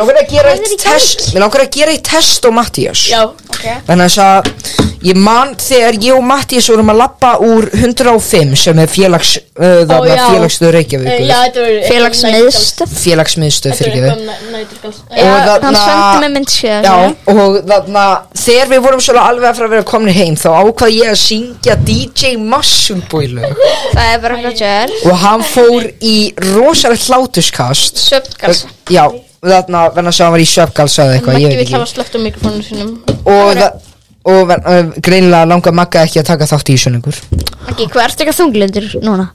B: langar að gera eitt test Mér langar að gera eitt test á Mattías
D: Já, ok
B: Þannig þess að ég man þegar ég og Mattías vorum að lappa úr 105 sem er félags uh,
D: Ó,
B: þarna
D: já.
B: félagstöð
D: Eh,
B: Reykjavíkur
D: Já, þetta var
F: Félagsmiðstöð
B: félagsmiðstöð
D: Þetta
B: fyrir
D: var
B: ekki við
D: eitthvað næturgals
B: og
F: Hann sendi mig
B: þarna
F: mynd síðan
B: Já, og þarna, þegar við vorum svona alveg að fara að vera komin heim þá ákvað ég að syngja DJ Musselboy lög
F: Það er bara hvað það er
B: og hann fór í rosalegt hlátuskast
F: Svefngalsa
B: Já, þarna, þannig að hann var í svefgalsa eða eitthvað, ég
D: Maggi
B: veit
D: vill
B: ekki
D: hafa slögt á mikrofónu sínum
B: og, það- og ver- uh, greinilega langar Magga ekki að taka þátt í þessu lengur
F: Ekki, hvað ertu eitthvað þunglindur núna?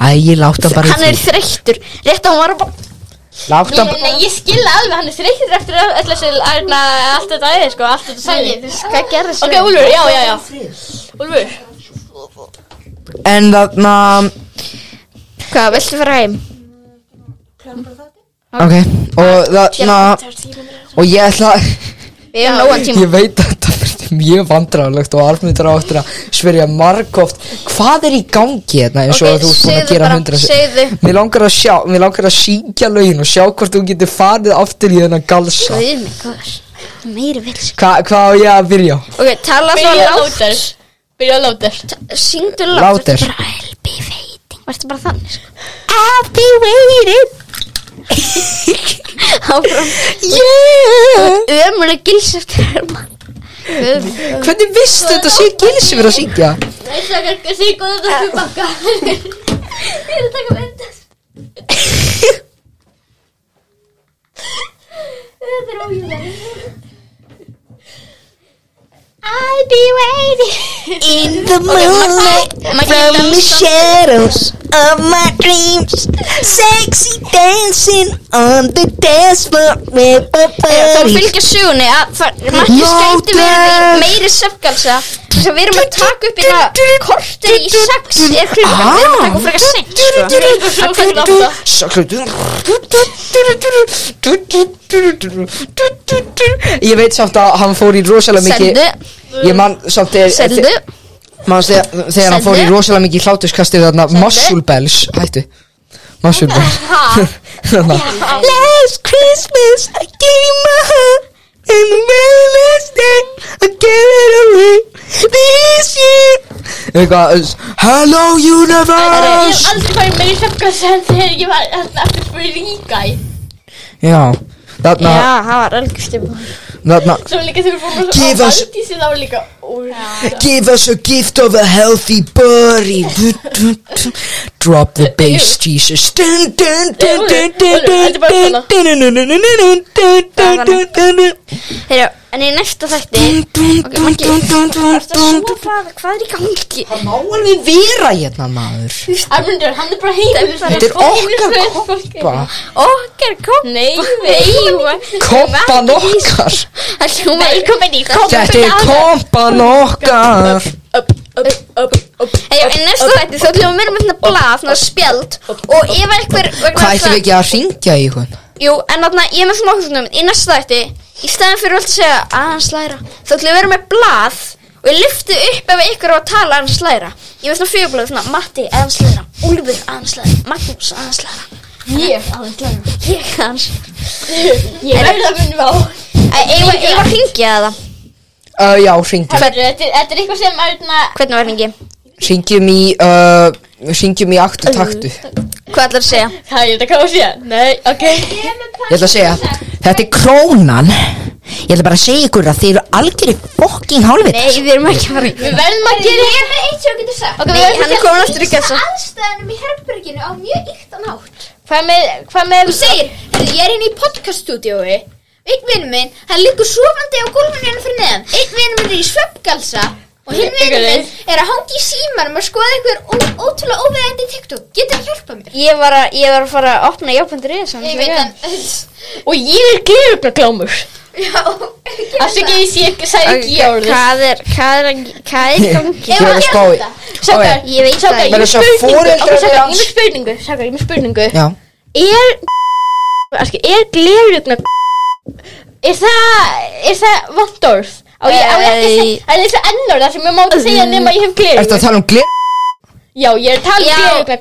B: Æ, ég láta bara
F: Hann
B: í
F: er þreyttur Rétt að hann var að bara
B: því Láta bara
D: Nei, ég skil alveg, hann er þreyttur eftir öll öll þessi ærna, allt þetta æði, sko, allt þetta sæði
F: Hvað gerði
D: Ok, Úlfur, já, já, já Úlfur,
B: En þarna,
F: Hvað, viltu fara heim?
B: ok Og þarna Og ég ætla
F: Við erum nógan tíma
B: Ég veit að þetta verður mjög vandræðalegt Og almyndur áttur að spyrja margóft Hvað er í gangi hérna eins og þú
F: Ok,
B: ert búin að
F: segðu
B: gera
F: bara,
B: hundra
F: segðu.
B: Mér langar að sjá Mér langar að syngja lögin og sjá hvort þú getur farið aftur í þennan galsa
F: Guð mig, hvað er Meiri vils
B: Hva, Hvað á ég að byrja? á?
F: Ok, tala svo
D: byrja að
F: lágt
D: láta þess Byrja að láta þess
F: Syngdu
B: Lágt
F: lágt
B: er.
F: Þetta er bara LB veiting Varstu bara þannig sko I'll be waiting Áfram Yeah Ömuleg gilseft herma
B: Hvernig vistu þetta sé gilsi verið að syngja?
G: I'll be waiting
F: In the moonlight From the shadows Of my dreams Sexy dancing On the dance floor With a Mm.
G: Það
F: buddy
G: fylgja sögunni að það Matti skemmti verið í meiri söfgalsa sem við erum að taka upp í það kortir í sex eða klukkan við erum að taka upp frekar seint sko.
B: Saklutur Ég veit samt eh, að hann fór í rosalega mikið Ég man samt er,
F: Seldu
B: Manns þegar, þegar hann fór í rosalega mikið hlátuskastir þarna Muscle Bells Hættu Muscle Bells Þarna. Last Christmas I gave you my heart And the very last day I gave it away This year Eitthvað s- Hello
D: Ég hef
B: universe
D: aldrei farið meiri svefnkast en þegar ég var hérna þarna aftur fyrir ríka í
B: Já Þarna
F: Já, það var algjör stefn
B: Þarna
D: Svo líka þegar við
B: Give
D: fórum á
B: us-
D: Valdísi þá var líka úr
B: Give us a gift of a healthy body. Drop the bass, Jesus.
F: Þeirra, en í næsta þætti Hvað, hvað er í gangi?
B: Það má alveg vera hérna maður
D: Armundur, hann er bara heimur
B: Þetta er okkar koppa
F: Okkar kom Nei, nei
B: Koppan okkar
F: Það hljóma Velkomin í
B: Þetta er kompan okkar
F: Þeirra, en næsta þætti þá hljóma mér með þetta blað Svona spjald Og ef einhver
B: Hvað
F: vegna
B: ætlum
F: þess að-
B: við ekki að ringja í hún?
F: Jú, en þarna, ég er með svona okkur svona hugmynd. Í næsta þætti, í staðin fyrir allt að segja aðeins læra Þá ætlum við að vera með blað Og ég lyfti upp ef ykkur á að tala aðeins læra Ég veist svona fjögblöð, svona Matti aðeins læra Úlfur aðeins læra, Magnús aðeins læra Ég aðeins læra Ég
D: Það
F: aðeins
D: munum við á
F: Ég Ég var að ringja það
B: Uh, já, ringjum
D: Þetta er- þetta er eitthvað sem hérna, Arna
F: Hvernig var hringi?
B: Ringjum í uh, Ringjum í aktu taktu
F: Hvað ætlar að segja?
D: Það er þetta kósi Nei, ok
B: Ég ætla að segja Þetta er krónan Ég ætla bara að segja ykkur að þið eru algjörir fokking hálfið
F: Nei, við erum ekki að fara
D: Við verðum að gera
E: Ég er með eitt sem ég getur sagt
F: Nei, hann er komin aftur í kassa
E: Aðstæðanum í herberginu á mjög yktan átt
D: Hvað með, hvað með
E: Þú segir, heyrðu, ég er inn í podcaststudiói Einn vinn minn, hann liggur sofandi á gólfinu hérna fyrir neðan Einn vinn minn er í svefngalsa Og hinn vinn minn er að hangi í símanum að skoða einhver ó- ótrúlega óveðandi TikTok Getur það hjálpað mér?
F: Ég var að, ég var að fara að opna jápundur í þessu
E: Ég veit hann
D: Og ég er glirugla glámur
E: Já,
D: Afsökið ég sé ekki, sagði ekki ég orðið
F: Hvað er, hvað er, hvað er í gangi?
B: Ég var að spá í
D: Sákar,
B: Ok.
F: Ég veit það
D: sákar, ég
F: ekki.
B: Verður
D: er
B: svo foreldrar
D: spurningu Sákar, ég er
B: hans-
D: með spurningu Sákar, ég er með spurningu
B: Já
D: Er Aski, er glirugna Er það, er það vandorð? Á ég, á ég ekki að segja Það er það ennur það sem ég má ekki segja nema ég hef
B: Ertu að
D: glirugna
B: tala um glir?
D: Já, ég er að tala
F: Já.
D: um glirugna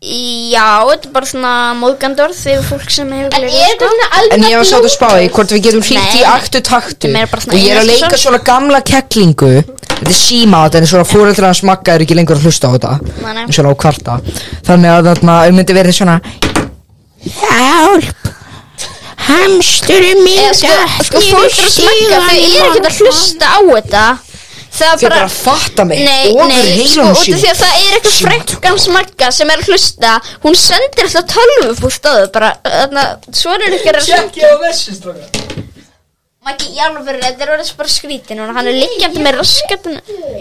F: Já, þetta er bara svona móðgandorð fyrir fólk sem hefur
D: En er
F: gleraugu,
D: það svona
B: En ég var
D: alveg
B: sátt að spá í hvort við getum hringt í
F: um Nei.
B: aktu taktu
F: Þetta er meira bara svona
B: Og ég er að
F: eineltissorg.
B: leika svona gamla kettlingu Þetta er síma þetta en svona fóreldrar hans magga eru ekki lengur að hlusta á þetta
F: Nei, nei.
B: En Svona á kvarta Þannig að þarna um myndi verið svona Hjálp Hamsturum
F: Eða
B: minn
F: sko, sko fólk er að smakka þau eru ekkert að hlusta á þetta Það er
B: Þið
F: bara
B: bara fatta mig
F: Nei,
B: Ofur
F: nei, sko,
B: heilanum
F: út af
B: sínum.
F: því að það er eitthvað frekkan smakka sem er að hlusta Hún sendir alltaf tölvupúst á þau bara, þarna, svo er þetta ekki að
B: Sjekki á þessu stróka
F: Maggi, í alvöru, þetta er orðið bara skrítið núna, hann er liggjandi með raskatun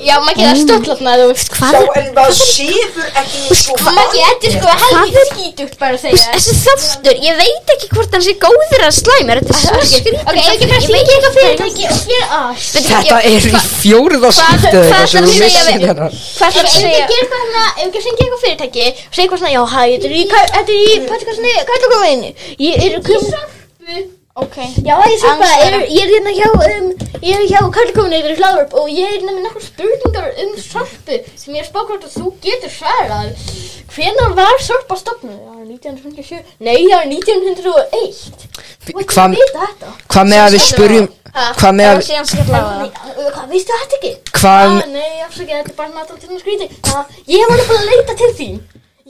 D: Já, maður getur að stöðlatna þú veist
B: Sjá en maður sefur ekki eins og
D: Maggi, þetta er sko helgi skítugt bara að segja
F: Þessi þáttur, ég veit ekki hvort hann sé góður að slæmur, þetta er svo skrítið
D: Ok, það ekki bara að syngja eitthvað fyrirtæki og gera allt
B: Þetta er í fjórða skiptið
F: hvað
B: eitthvað sem
F: ætlarðu
B: þú
F: að segja
B: missir
F: við-
B: hérna
F: Hvað
D: Ef
F: það að
D: ekki gera eitthvað hérna, ef
F: segja?
D: ekki að syngja eitthvað fyrirtæki og segja eitthvað svona, já, hæ, þetta er í, þetta er í, podcastinu, hvað er það komið inn? Ég er kom...
F: Ok
D: Já, ég sé bara,
F: Annars
D: er, ég er hérna hjá, um, ég er hjá Karlkominni yfir Hláðurp og ég er hérna með nokkur spurningar um sorpu sem ég er spáð hvort að þú getur svarað. Hvenar var sorpa stofnuð? Það var 1957. Nei, það var 1901.
B: Hvað
D: Hvað veistu þetta?
B: hva með að við spurjum Hvað með að
F: síðan skella á það
D: Nei, Hvað veistu þetta ekki?
B: Hvað
D: Ah, nei, afsakið, þetta er bara náttúrulega til að skríti. Ah, ég var bara að leita til þín.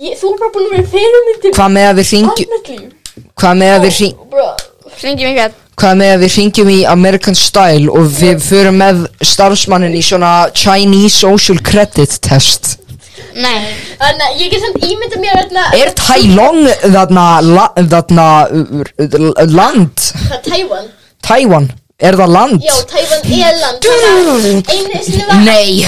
D: Ég, þú er bara búin að vera fyrirmyndin.
B: Hvað með að við ringjum
D: Annarlíf.
B: Hvað með að við ringjum
D: Bro,
F: Hringi mig hvað
B: Hvað með að við ringjum í American Style Og við förum með starfsmannin í svona Chinese Social Credit Test
F: Nei
D: þannig að ég get samt ímynda mér hérna- þarna.
B: Er Tai Long þarna la- Þarna uh, uh, Land
D: Það er Tævan.
B: Taiwan Er það land?
D: Já, Tævan er land.
B: Dú.
D: þannig að Einu sinni var...
B: Nei.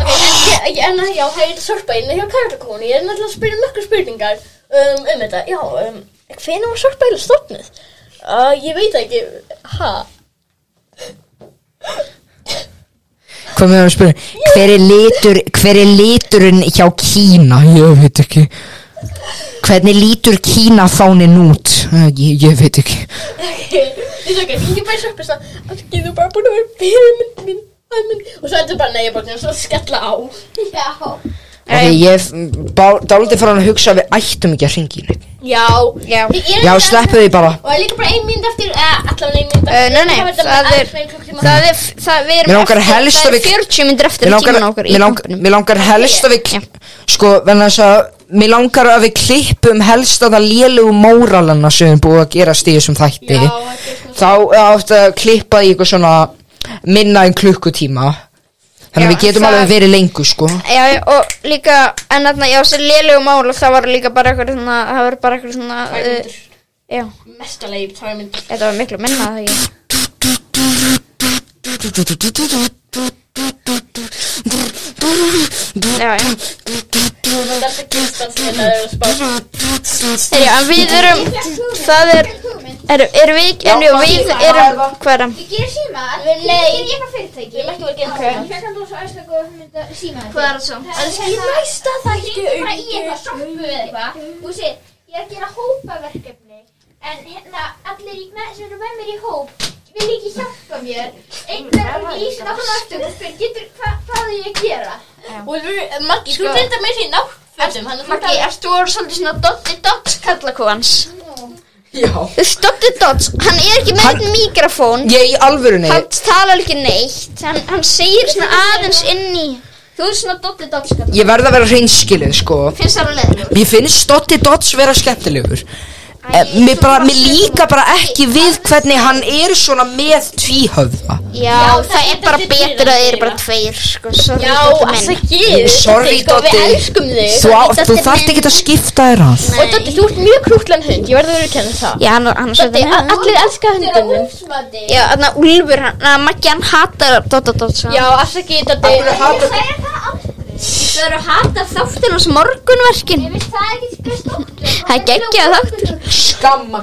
D: Ok, en- ég- en já, það er sorpa einu hjá Karlakóni. Ég er náttúrulega að spyrja nokkur spurningar um, um þetta. Já, um, hvenær var sorpa einu stofnuð? Uh, ég veit það ekki. Ha?
B: Hvað með að spyrja Hver er litur Hver er liturinn hjá Kína Ég veit ekki Hvernig lítur Kína fánin út Ég, ég veit ekki
D: Ég er ok, ég er bara sorpa stofnuð. Afsakið, þú er bara búin að vera fyrirmynd mín. Æ, minn- Og svo er þetta bara, nei, ég er bara svona svo að skella á
B: Ok, ég er dálítið frá hann að hugsa að við ættum ekki að ringi neitt.
D: Já,
F: Já.
D: Ég er
B: Já,
D: ekki-
B: sleppu því bara.
D: Og það er líka bara ein mynd eftir, eða allavega ein mynd
F: Eh,
D: eftir
F: nei, nei, það er-
D: það
F: Það er, það, við
B: Mér
F: erum
B: langar helst
F: það
B: að
F: er
B: við-
F: 40 myndir eftir
B: Mér
F: í
B: langar,
F: tíman okkar í
B: mér langar,
F: kampinum.
B: mér langar helst að við, sko, vegna þess að, mér langar að við klippum helst að það lélugu móralana sem er búið að gerast í þessum þætti.
D: Já, þetta er svona-
B: Þá áttu að klippa í eitthvað svona minna en klukkutíma. Þannig að
F: Já,
B: við getum
F: það-
B: alveg verið lengur, sko.
F: Já, já, og líka, en þarna, já, þessi lélegu mál og það var líka bara eitthvað svona, það var bara eitthvað svona,
B: Eh.
F: uh, já,
D: Mestalegi í tvær myndir
F: þetta var miklu minna það ekki. Já, já.
D: Þetta gerist að þetta er að spá
F: Er, já, en við erum, það er, er, er við, en já, við erum, hvað er það?
E: Ég gerir síma, nei, ég er eitthvað fyrirtæki Ég lækki verið að gera það Ég fekk hann þú svo aðstöku og hún myndi síma þetta Hvað er það svo? Það er skil næsta þætti Það er bara í eitthvað sjoppu eða eitthvað Þú sé, ég er að gera hópaverkefni En hérna, allir í knæ sem eru með mér í hóp Vil ekki hjálpa mér Einhver er í svona hann aðstöku og spyr Getur, hva, hvað er ég að gera?
D: Og þú- Maggi, þú er þetta með sér í náttfötum Þannig að
F: Maggi, erst þú voru svolítið svona Doddi Dots kallakóans?
B: Já.
F: Þú veist, Doddi Dots, hann er ekki með
B: Hann-
F: einn mikrofón,
B: Ég í alvöru
F: hann
B: neitt.
F: talar ekki neitt, hann, hann segir svona aðeins inn í,
G: Þú er svona Doddi Dots kallar.
B: Ég verð að vera hreinskilin, sko.
G: Finnst það alveg leður?
B: Mér finnst Doddi Dodds vera skemmtilegur Eh, Mér, bara, mér líka bara ekki við hvernig hann er svona með tvíhöfða
F: já, það er bara betur að þeir eru bara tveir, sko, sorry,
D: Já,
F: Doddi
D: það
F: minn.
D: gerir
B: Sorry,
D: sko, Við
B: Doddi.
D: elskum þig
B: Þú, á- þú þarft ekki að skipta þér að
D: Og Doddi, þú ert mjög krútlan hund Ég verður að viðurkenna það
F: Já, hann, hann er
D: Doddi, a-
F: svona,
D: allir elska hundunum
F: já, hann er Úlfur, hann, að Maggi, hann hatar sko. Doddi Dots, hann.
D: Já, afsaki, Doddi
F: Það eru að hata þáttin hans morgunverkin.
E: Það er ekki hvað stóttur
F: Það er geggjað þáttur.
B: Skamma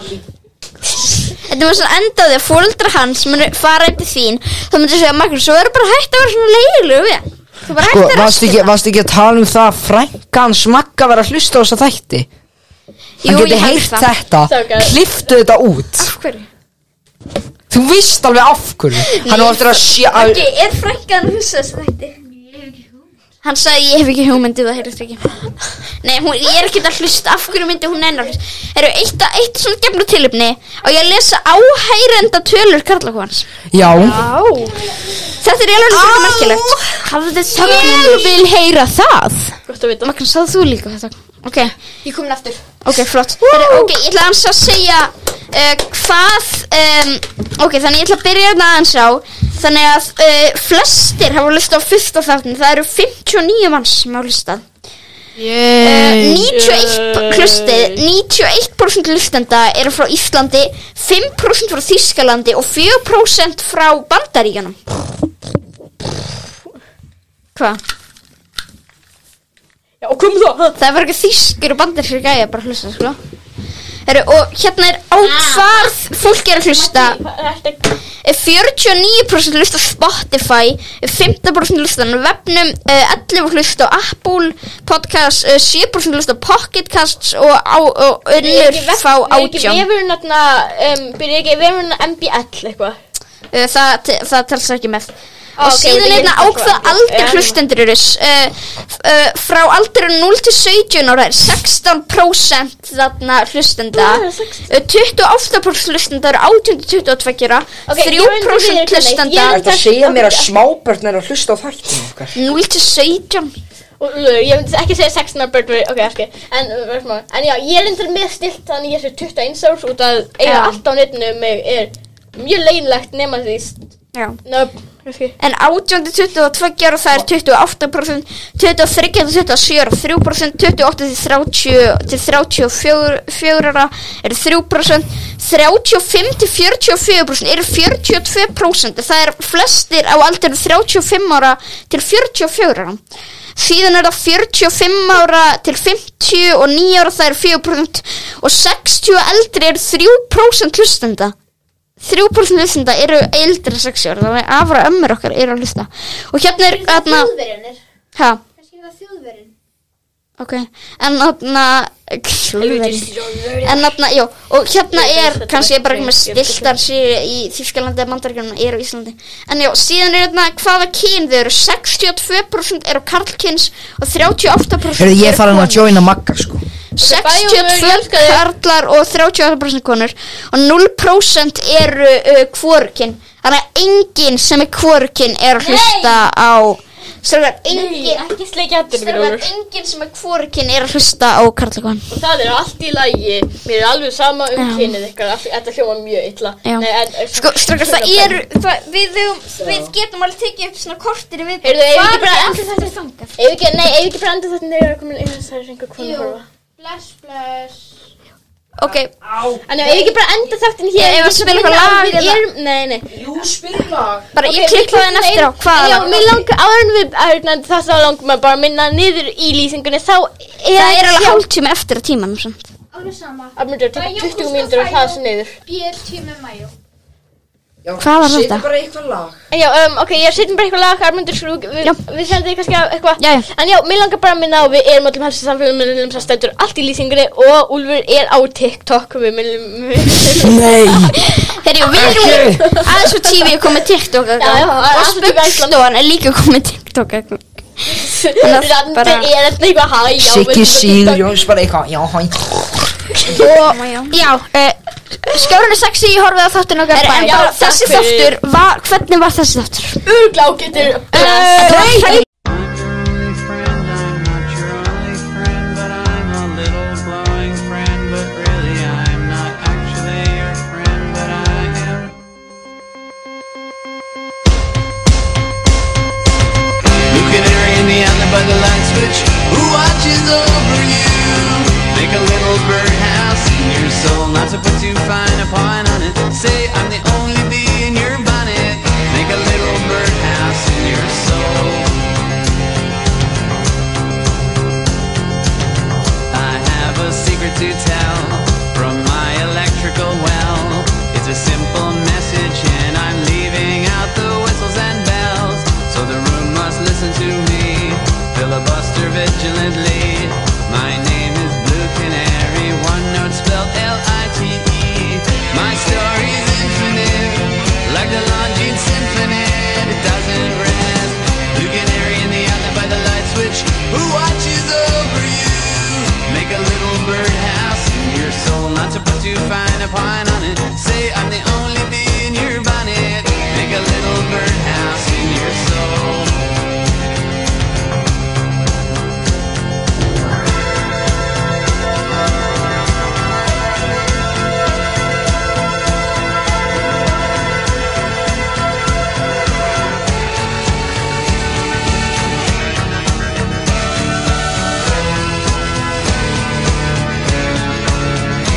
F: Þetta var svona endaði að fóreldra hans munu fara eftir þín þá myndi segja Magnús, þú verður bara hægt að vera svona leiðilegu við hann. Þú bara
B: Sko,
F: hægt að
B: varst ekki,
F: raskina.
B: varst ekki að tala um það að frænka hans Magga vera að hlusta á þessa þætti Hann
F: Jú,
B: geti
F: ég held
B: heyrt
F: það.
B: þetta,
D: Sorgar.
B: kliftu þetta út
F: Af hverju?
B: Þú vist alveg af hverju Hann á eftir að sjá að-
F: Ég er frænkan að hugsa þessu þætti. Hann sagði ég hef ekki hugmyndi það heyrðist ekki. Nei, hún, ég er ekki að hlusta af hverju myndi hún ennar. Eru eitt, eitt svona gefnu tilöfni og ég að lesa áhærenda tölur karlakvans.
B: Já,
F: Þetta er eiginlega frekar merkilegt. Hafðu þetta Ég vil heyra það.
D: Gott að vita
F: Magnús, sagði þú líka þetta? Ok.
D: Ég komin aftur
F: Ok, flott. Heru, ok, ég ætla aðeins að segja uh, hvað, um, ok, þannig ég ætla að byrja hérna aðeins á, þannig að uh, flestir hafa listað á fyrsta þáttin, það eru 59 manns sem hafa listað. Uh, 91, hlustið, 91% listenda eru frá Íslandi, 5% frá Þýskalandi og 4% frá Bandaríkanum. Hvað?
D: Já, og kom þá
F: Það er bara eitthvað þýskir og bandir sér gæja bara að hlusta, sko. Heru, og hérna er á hvað fólk er að hlusta. Eh, 49% hlusta á Spotify, eh, 15% hlusta á webnum, eh, 11% hlusta á Apple podcast, eh, 7% hlusta á Pocket Casts og, á, og unnur fá
D: Við
F: átján.
D: erum náttúrulega, um, byrja ekki, við erum náttúrulega MBL eitthvað
F: Eh, Það, te- það telst ekki með.
D: Ah,
F: og
D: ok,
F: síðan
D: ég Eh.
F: einna
D: held að
F: ákveða
D: það-
F: aldur
D: Já.
F: hlustendur eru uh, uh, frá aldur 0 til 17 ára er 16% þarna hlustenda
D: Já,
F: uh, 28% hlustenda eru 18 til 22 ára
D: Ok, ég reyndi að
F: 3%
D: viðurkenna eitt. Ég
F: hlustenda
D: reyndi-
B: þetta segja mér að smábörn er að hlusta á þættinu okkar
F: 0 til 17
D: Og lög, ég myndi ekki segja 16 ára börn við- Ok, ekki En, uh, veist maður. en já, ég er endur með stilt Þannig ég er svo 21 árs Út að eiga
F: Já.
D: allt á netinu um mig Er mjög leinlegt nema því
F: Já.
D: Nöp, veist ekki
F: en 18 til 22 ára það er 28% 23 til 27 ára 3% 28 til 30 til 34 ára eru 3% 35 til 44% eru 42% það er flestir á aldrei 35 ára til 44 ára síðan er það 45 ára til 50 og 9 ára það er 4% og 60 og eldri eru 3% hlustenda 3% hlustenda eru eldri en 60 ára þannig að afra ömmur okkar eru að hlusta og hérna er hérna,
E: Þjóðverjanir
F: ha,
E: Kannski það þjóðverjun
F: Ok, en þarna En þarna, já Og hérna er, kannski ég bara ekki með stiltar sér í Þýskalandi eða Mandarkjörnum er á Íslandi En já, síðan er hérna hvaða kyn þau eru 62% eru karlkyns og 38%
B: Herðu, ég er
F: eru
B: farin
F: konur.
B: að joina Magga, sko.
D: Bæjum, ég
F: 62
D: elska þig.
F: karlar og 38% konur og 0% eru uh, kvorkin þannig að enginn sem er kvorkin er að hlusta á strákar, enginn
D: Ekki sleikja hættur mér,
F: strákar,
D: Ólfur.
F: enginn sem er kvorkin er að hlusta á karlakon
D: Og það er allt í lagi. Mér er alveg sama um kynið ykkar. allt- Þetta hljóma mjög illa.
F: Já.
D: Nei, en,
F: sko, strákar, það eru
G: það, við, höfum, við getum alveg tekið upp svona kortir við
D: Heyrðu, eigum við ekki bara
G: allir þetta þangað?
D: Ef ekki, nei, ef ekki brenda þetta neyra komin inn þess að það er einhver konu að horfa.
G: Bless, bless
F: ok,
D: En ef ekki bara enda þáttin hér
F: Ef að spila eitthvað lag
D: Við
F: eða-
D: erum, nei, nei
F: bara ég klikka þenn eftir á
D: En
F: hvað
D: Já, mér langar, áður en við erðna þess að langar maður bara að minna niður í lýsingunni Þá er
F: það er alveg hálftíma eftir að tímanum samt.
G: Alveg sama
D: Það myndir að taka 20 mínútur að það sem niður
G: BL tími mæjó
F: Hvað var þetta?
B: bara eitthvað lag.
D: En Já, um, ok, ég setjum bara eitthvað lag, Armundur, skrú, við,
F: Já.
D: við sendum þér kannski á eitthvað
F: Jæja.
D: En já, mér langar bara að minna á, við erum öllum helstu samfélagum sem stendur allt í lýsingunni og Úlfur er á TikTok, við minnum
B: Nei.
F: Herjú, við erum aðeins og tífi er komið TikTok
D: Já, já, það er
F: og
D: allt í Bæsland.
F: spöggstofan er líka komið TikTok eitthvað. að
D: Randi
F: bara-
D: er þetta eitthvað hæ já, við erum
B: Siggi
D: á
B: Sigur
D: TikTok.
B: Jóns bara eitthvað, já, hann.
F: Já, uh, skjárun er sexy, ég horfið á þáttun okkar
D: Herri,
F: bæ.
D: en bara
F: þessi
D: takk fyrir.
F: þáttur, var, hvernig var þessi þáttur?
D: Örglá getur
F: Eh, Nei,
H: I'm your only friend, I'm not your only friend, but I'm a little glowing friend, but really I'm not actually your friend, but I am. You can hurry me on the by the light switch, who watches over you? Make a little birdhouse in your soul, not to put too fine a point on it. Say I'm the only bee in your bonnet. Make a little birdhouse in your soul. I have a secret to tell from my electrical well. It's a simple message, and I'm leaving out the whistles and bells. So the room must listen to me, filibuster vigilantly. My name is Blue Canary, one note spelled L-I-T-E. E. My story's infinite, like the Longines Symphony. It doesn't rest. Blue Canary in the island by the light switch. Who watches over you? Make a little birdhouse in your soul, not to put too fine a point on it. Say I'm the only bee in your bonnet. Make a little birdhouse in your soul.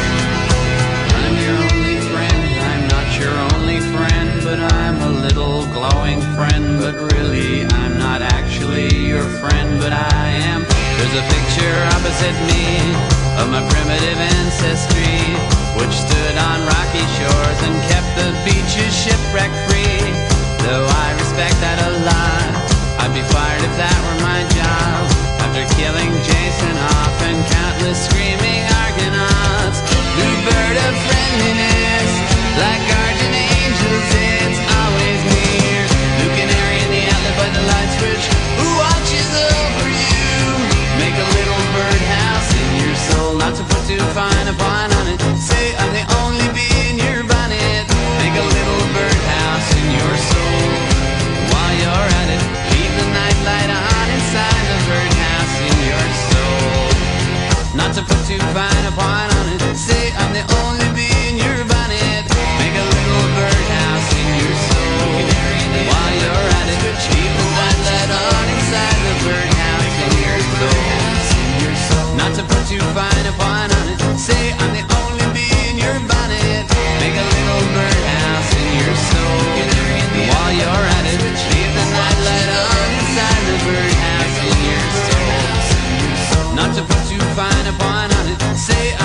H: I'm your only friend. I'm not your only friend, but I'm a little glowing friend. But really, I'm not actually your friend, but I am. There's a picture opposite me of my primitive ancestry, which stood on rocky shores and kept the beaches shipwreck free. Though I respect that a lot, I'd be fired if that were my job. After killing Jason off and countless screaming Argonauts, new bird of friendliness, like guardian angels, it's always near. New canary in the outlet by the light switch, who watches over you? Make a little birdhouse in your soul, not to put too fine a point on it. Say I'm the only bee in your bonnet. Make a little birdhouse in your soul. While you're at it, leave the night light on inside the birdhouse in your soul. Not to put too fine a point on it. Say I'm the only bee in your bonnet. Make a little birdhouse in your soul. While you're at it, keep the white light on inside the birdhouse in your soul. Not to put too fine a point on it. Say I'm the only bee in your bonnet. Make a little birdhouse in your soul. While you're at it, keep the white light on inside the birdhouse in your soul. Not to put too fine a point on it. Say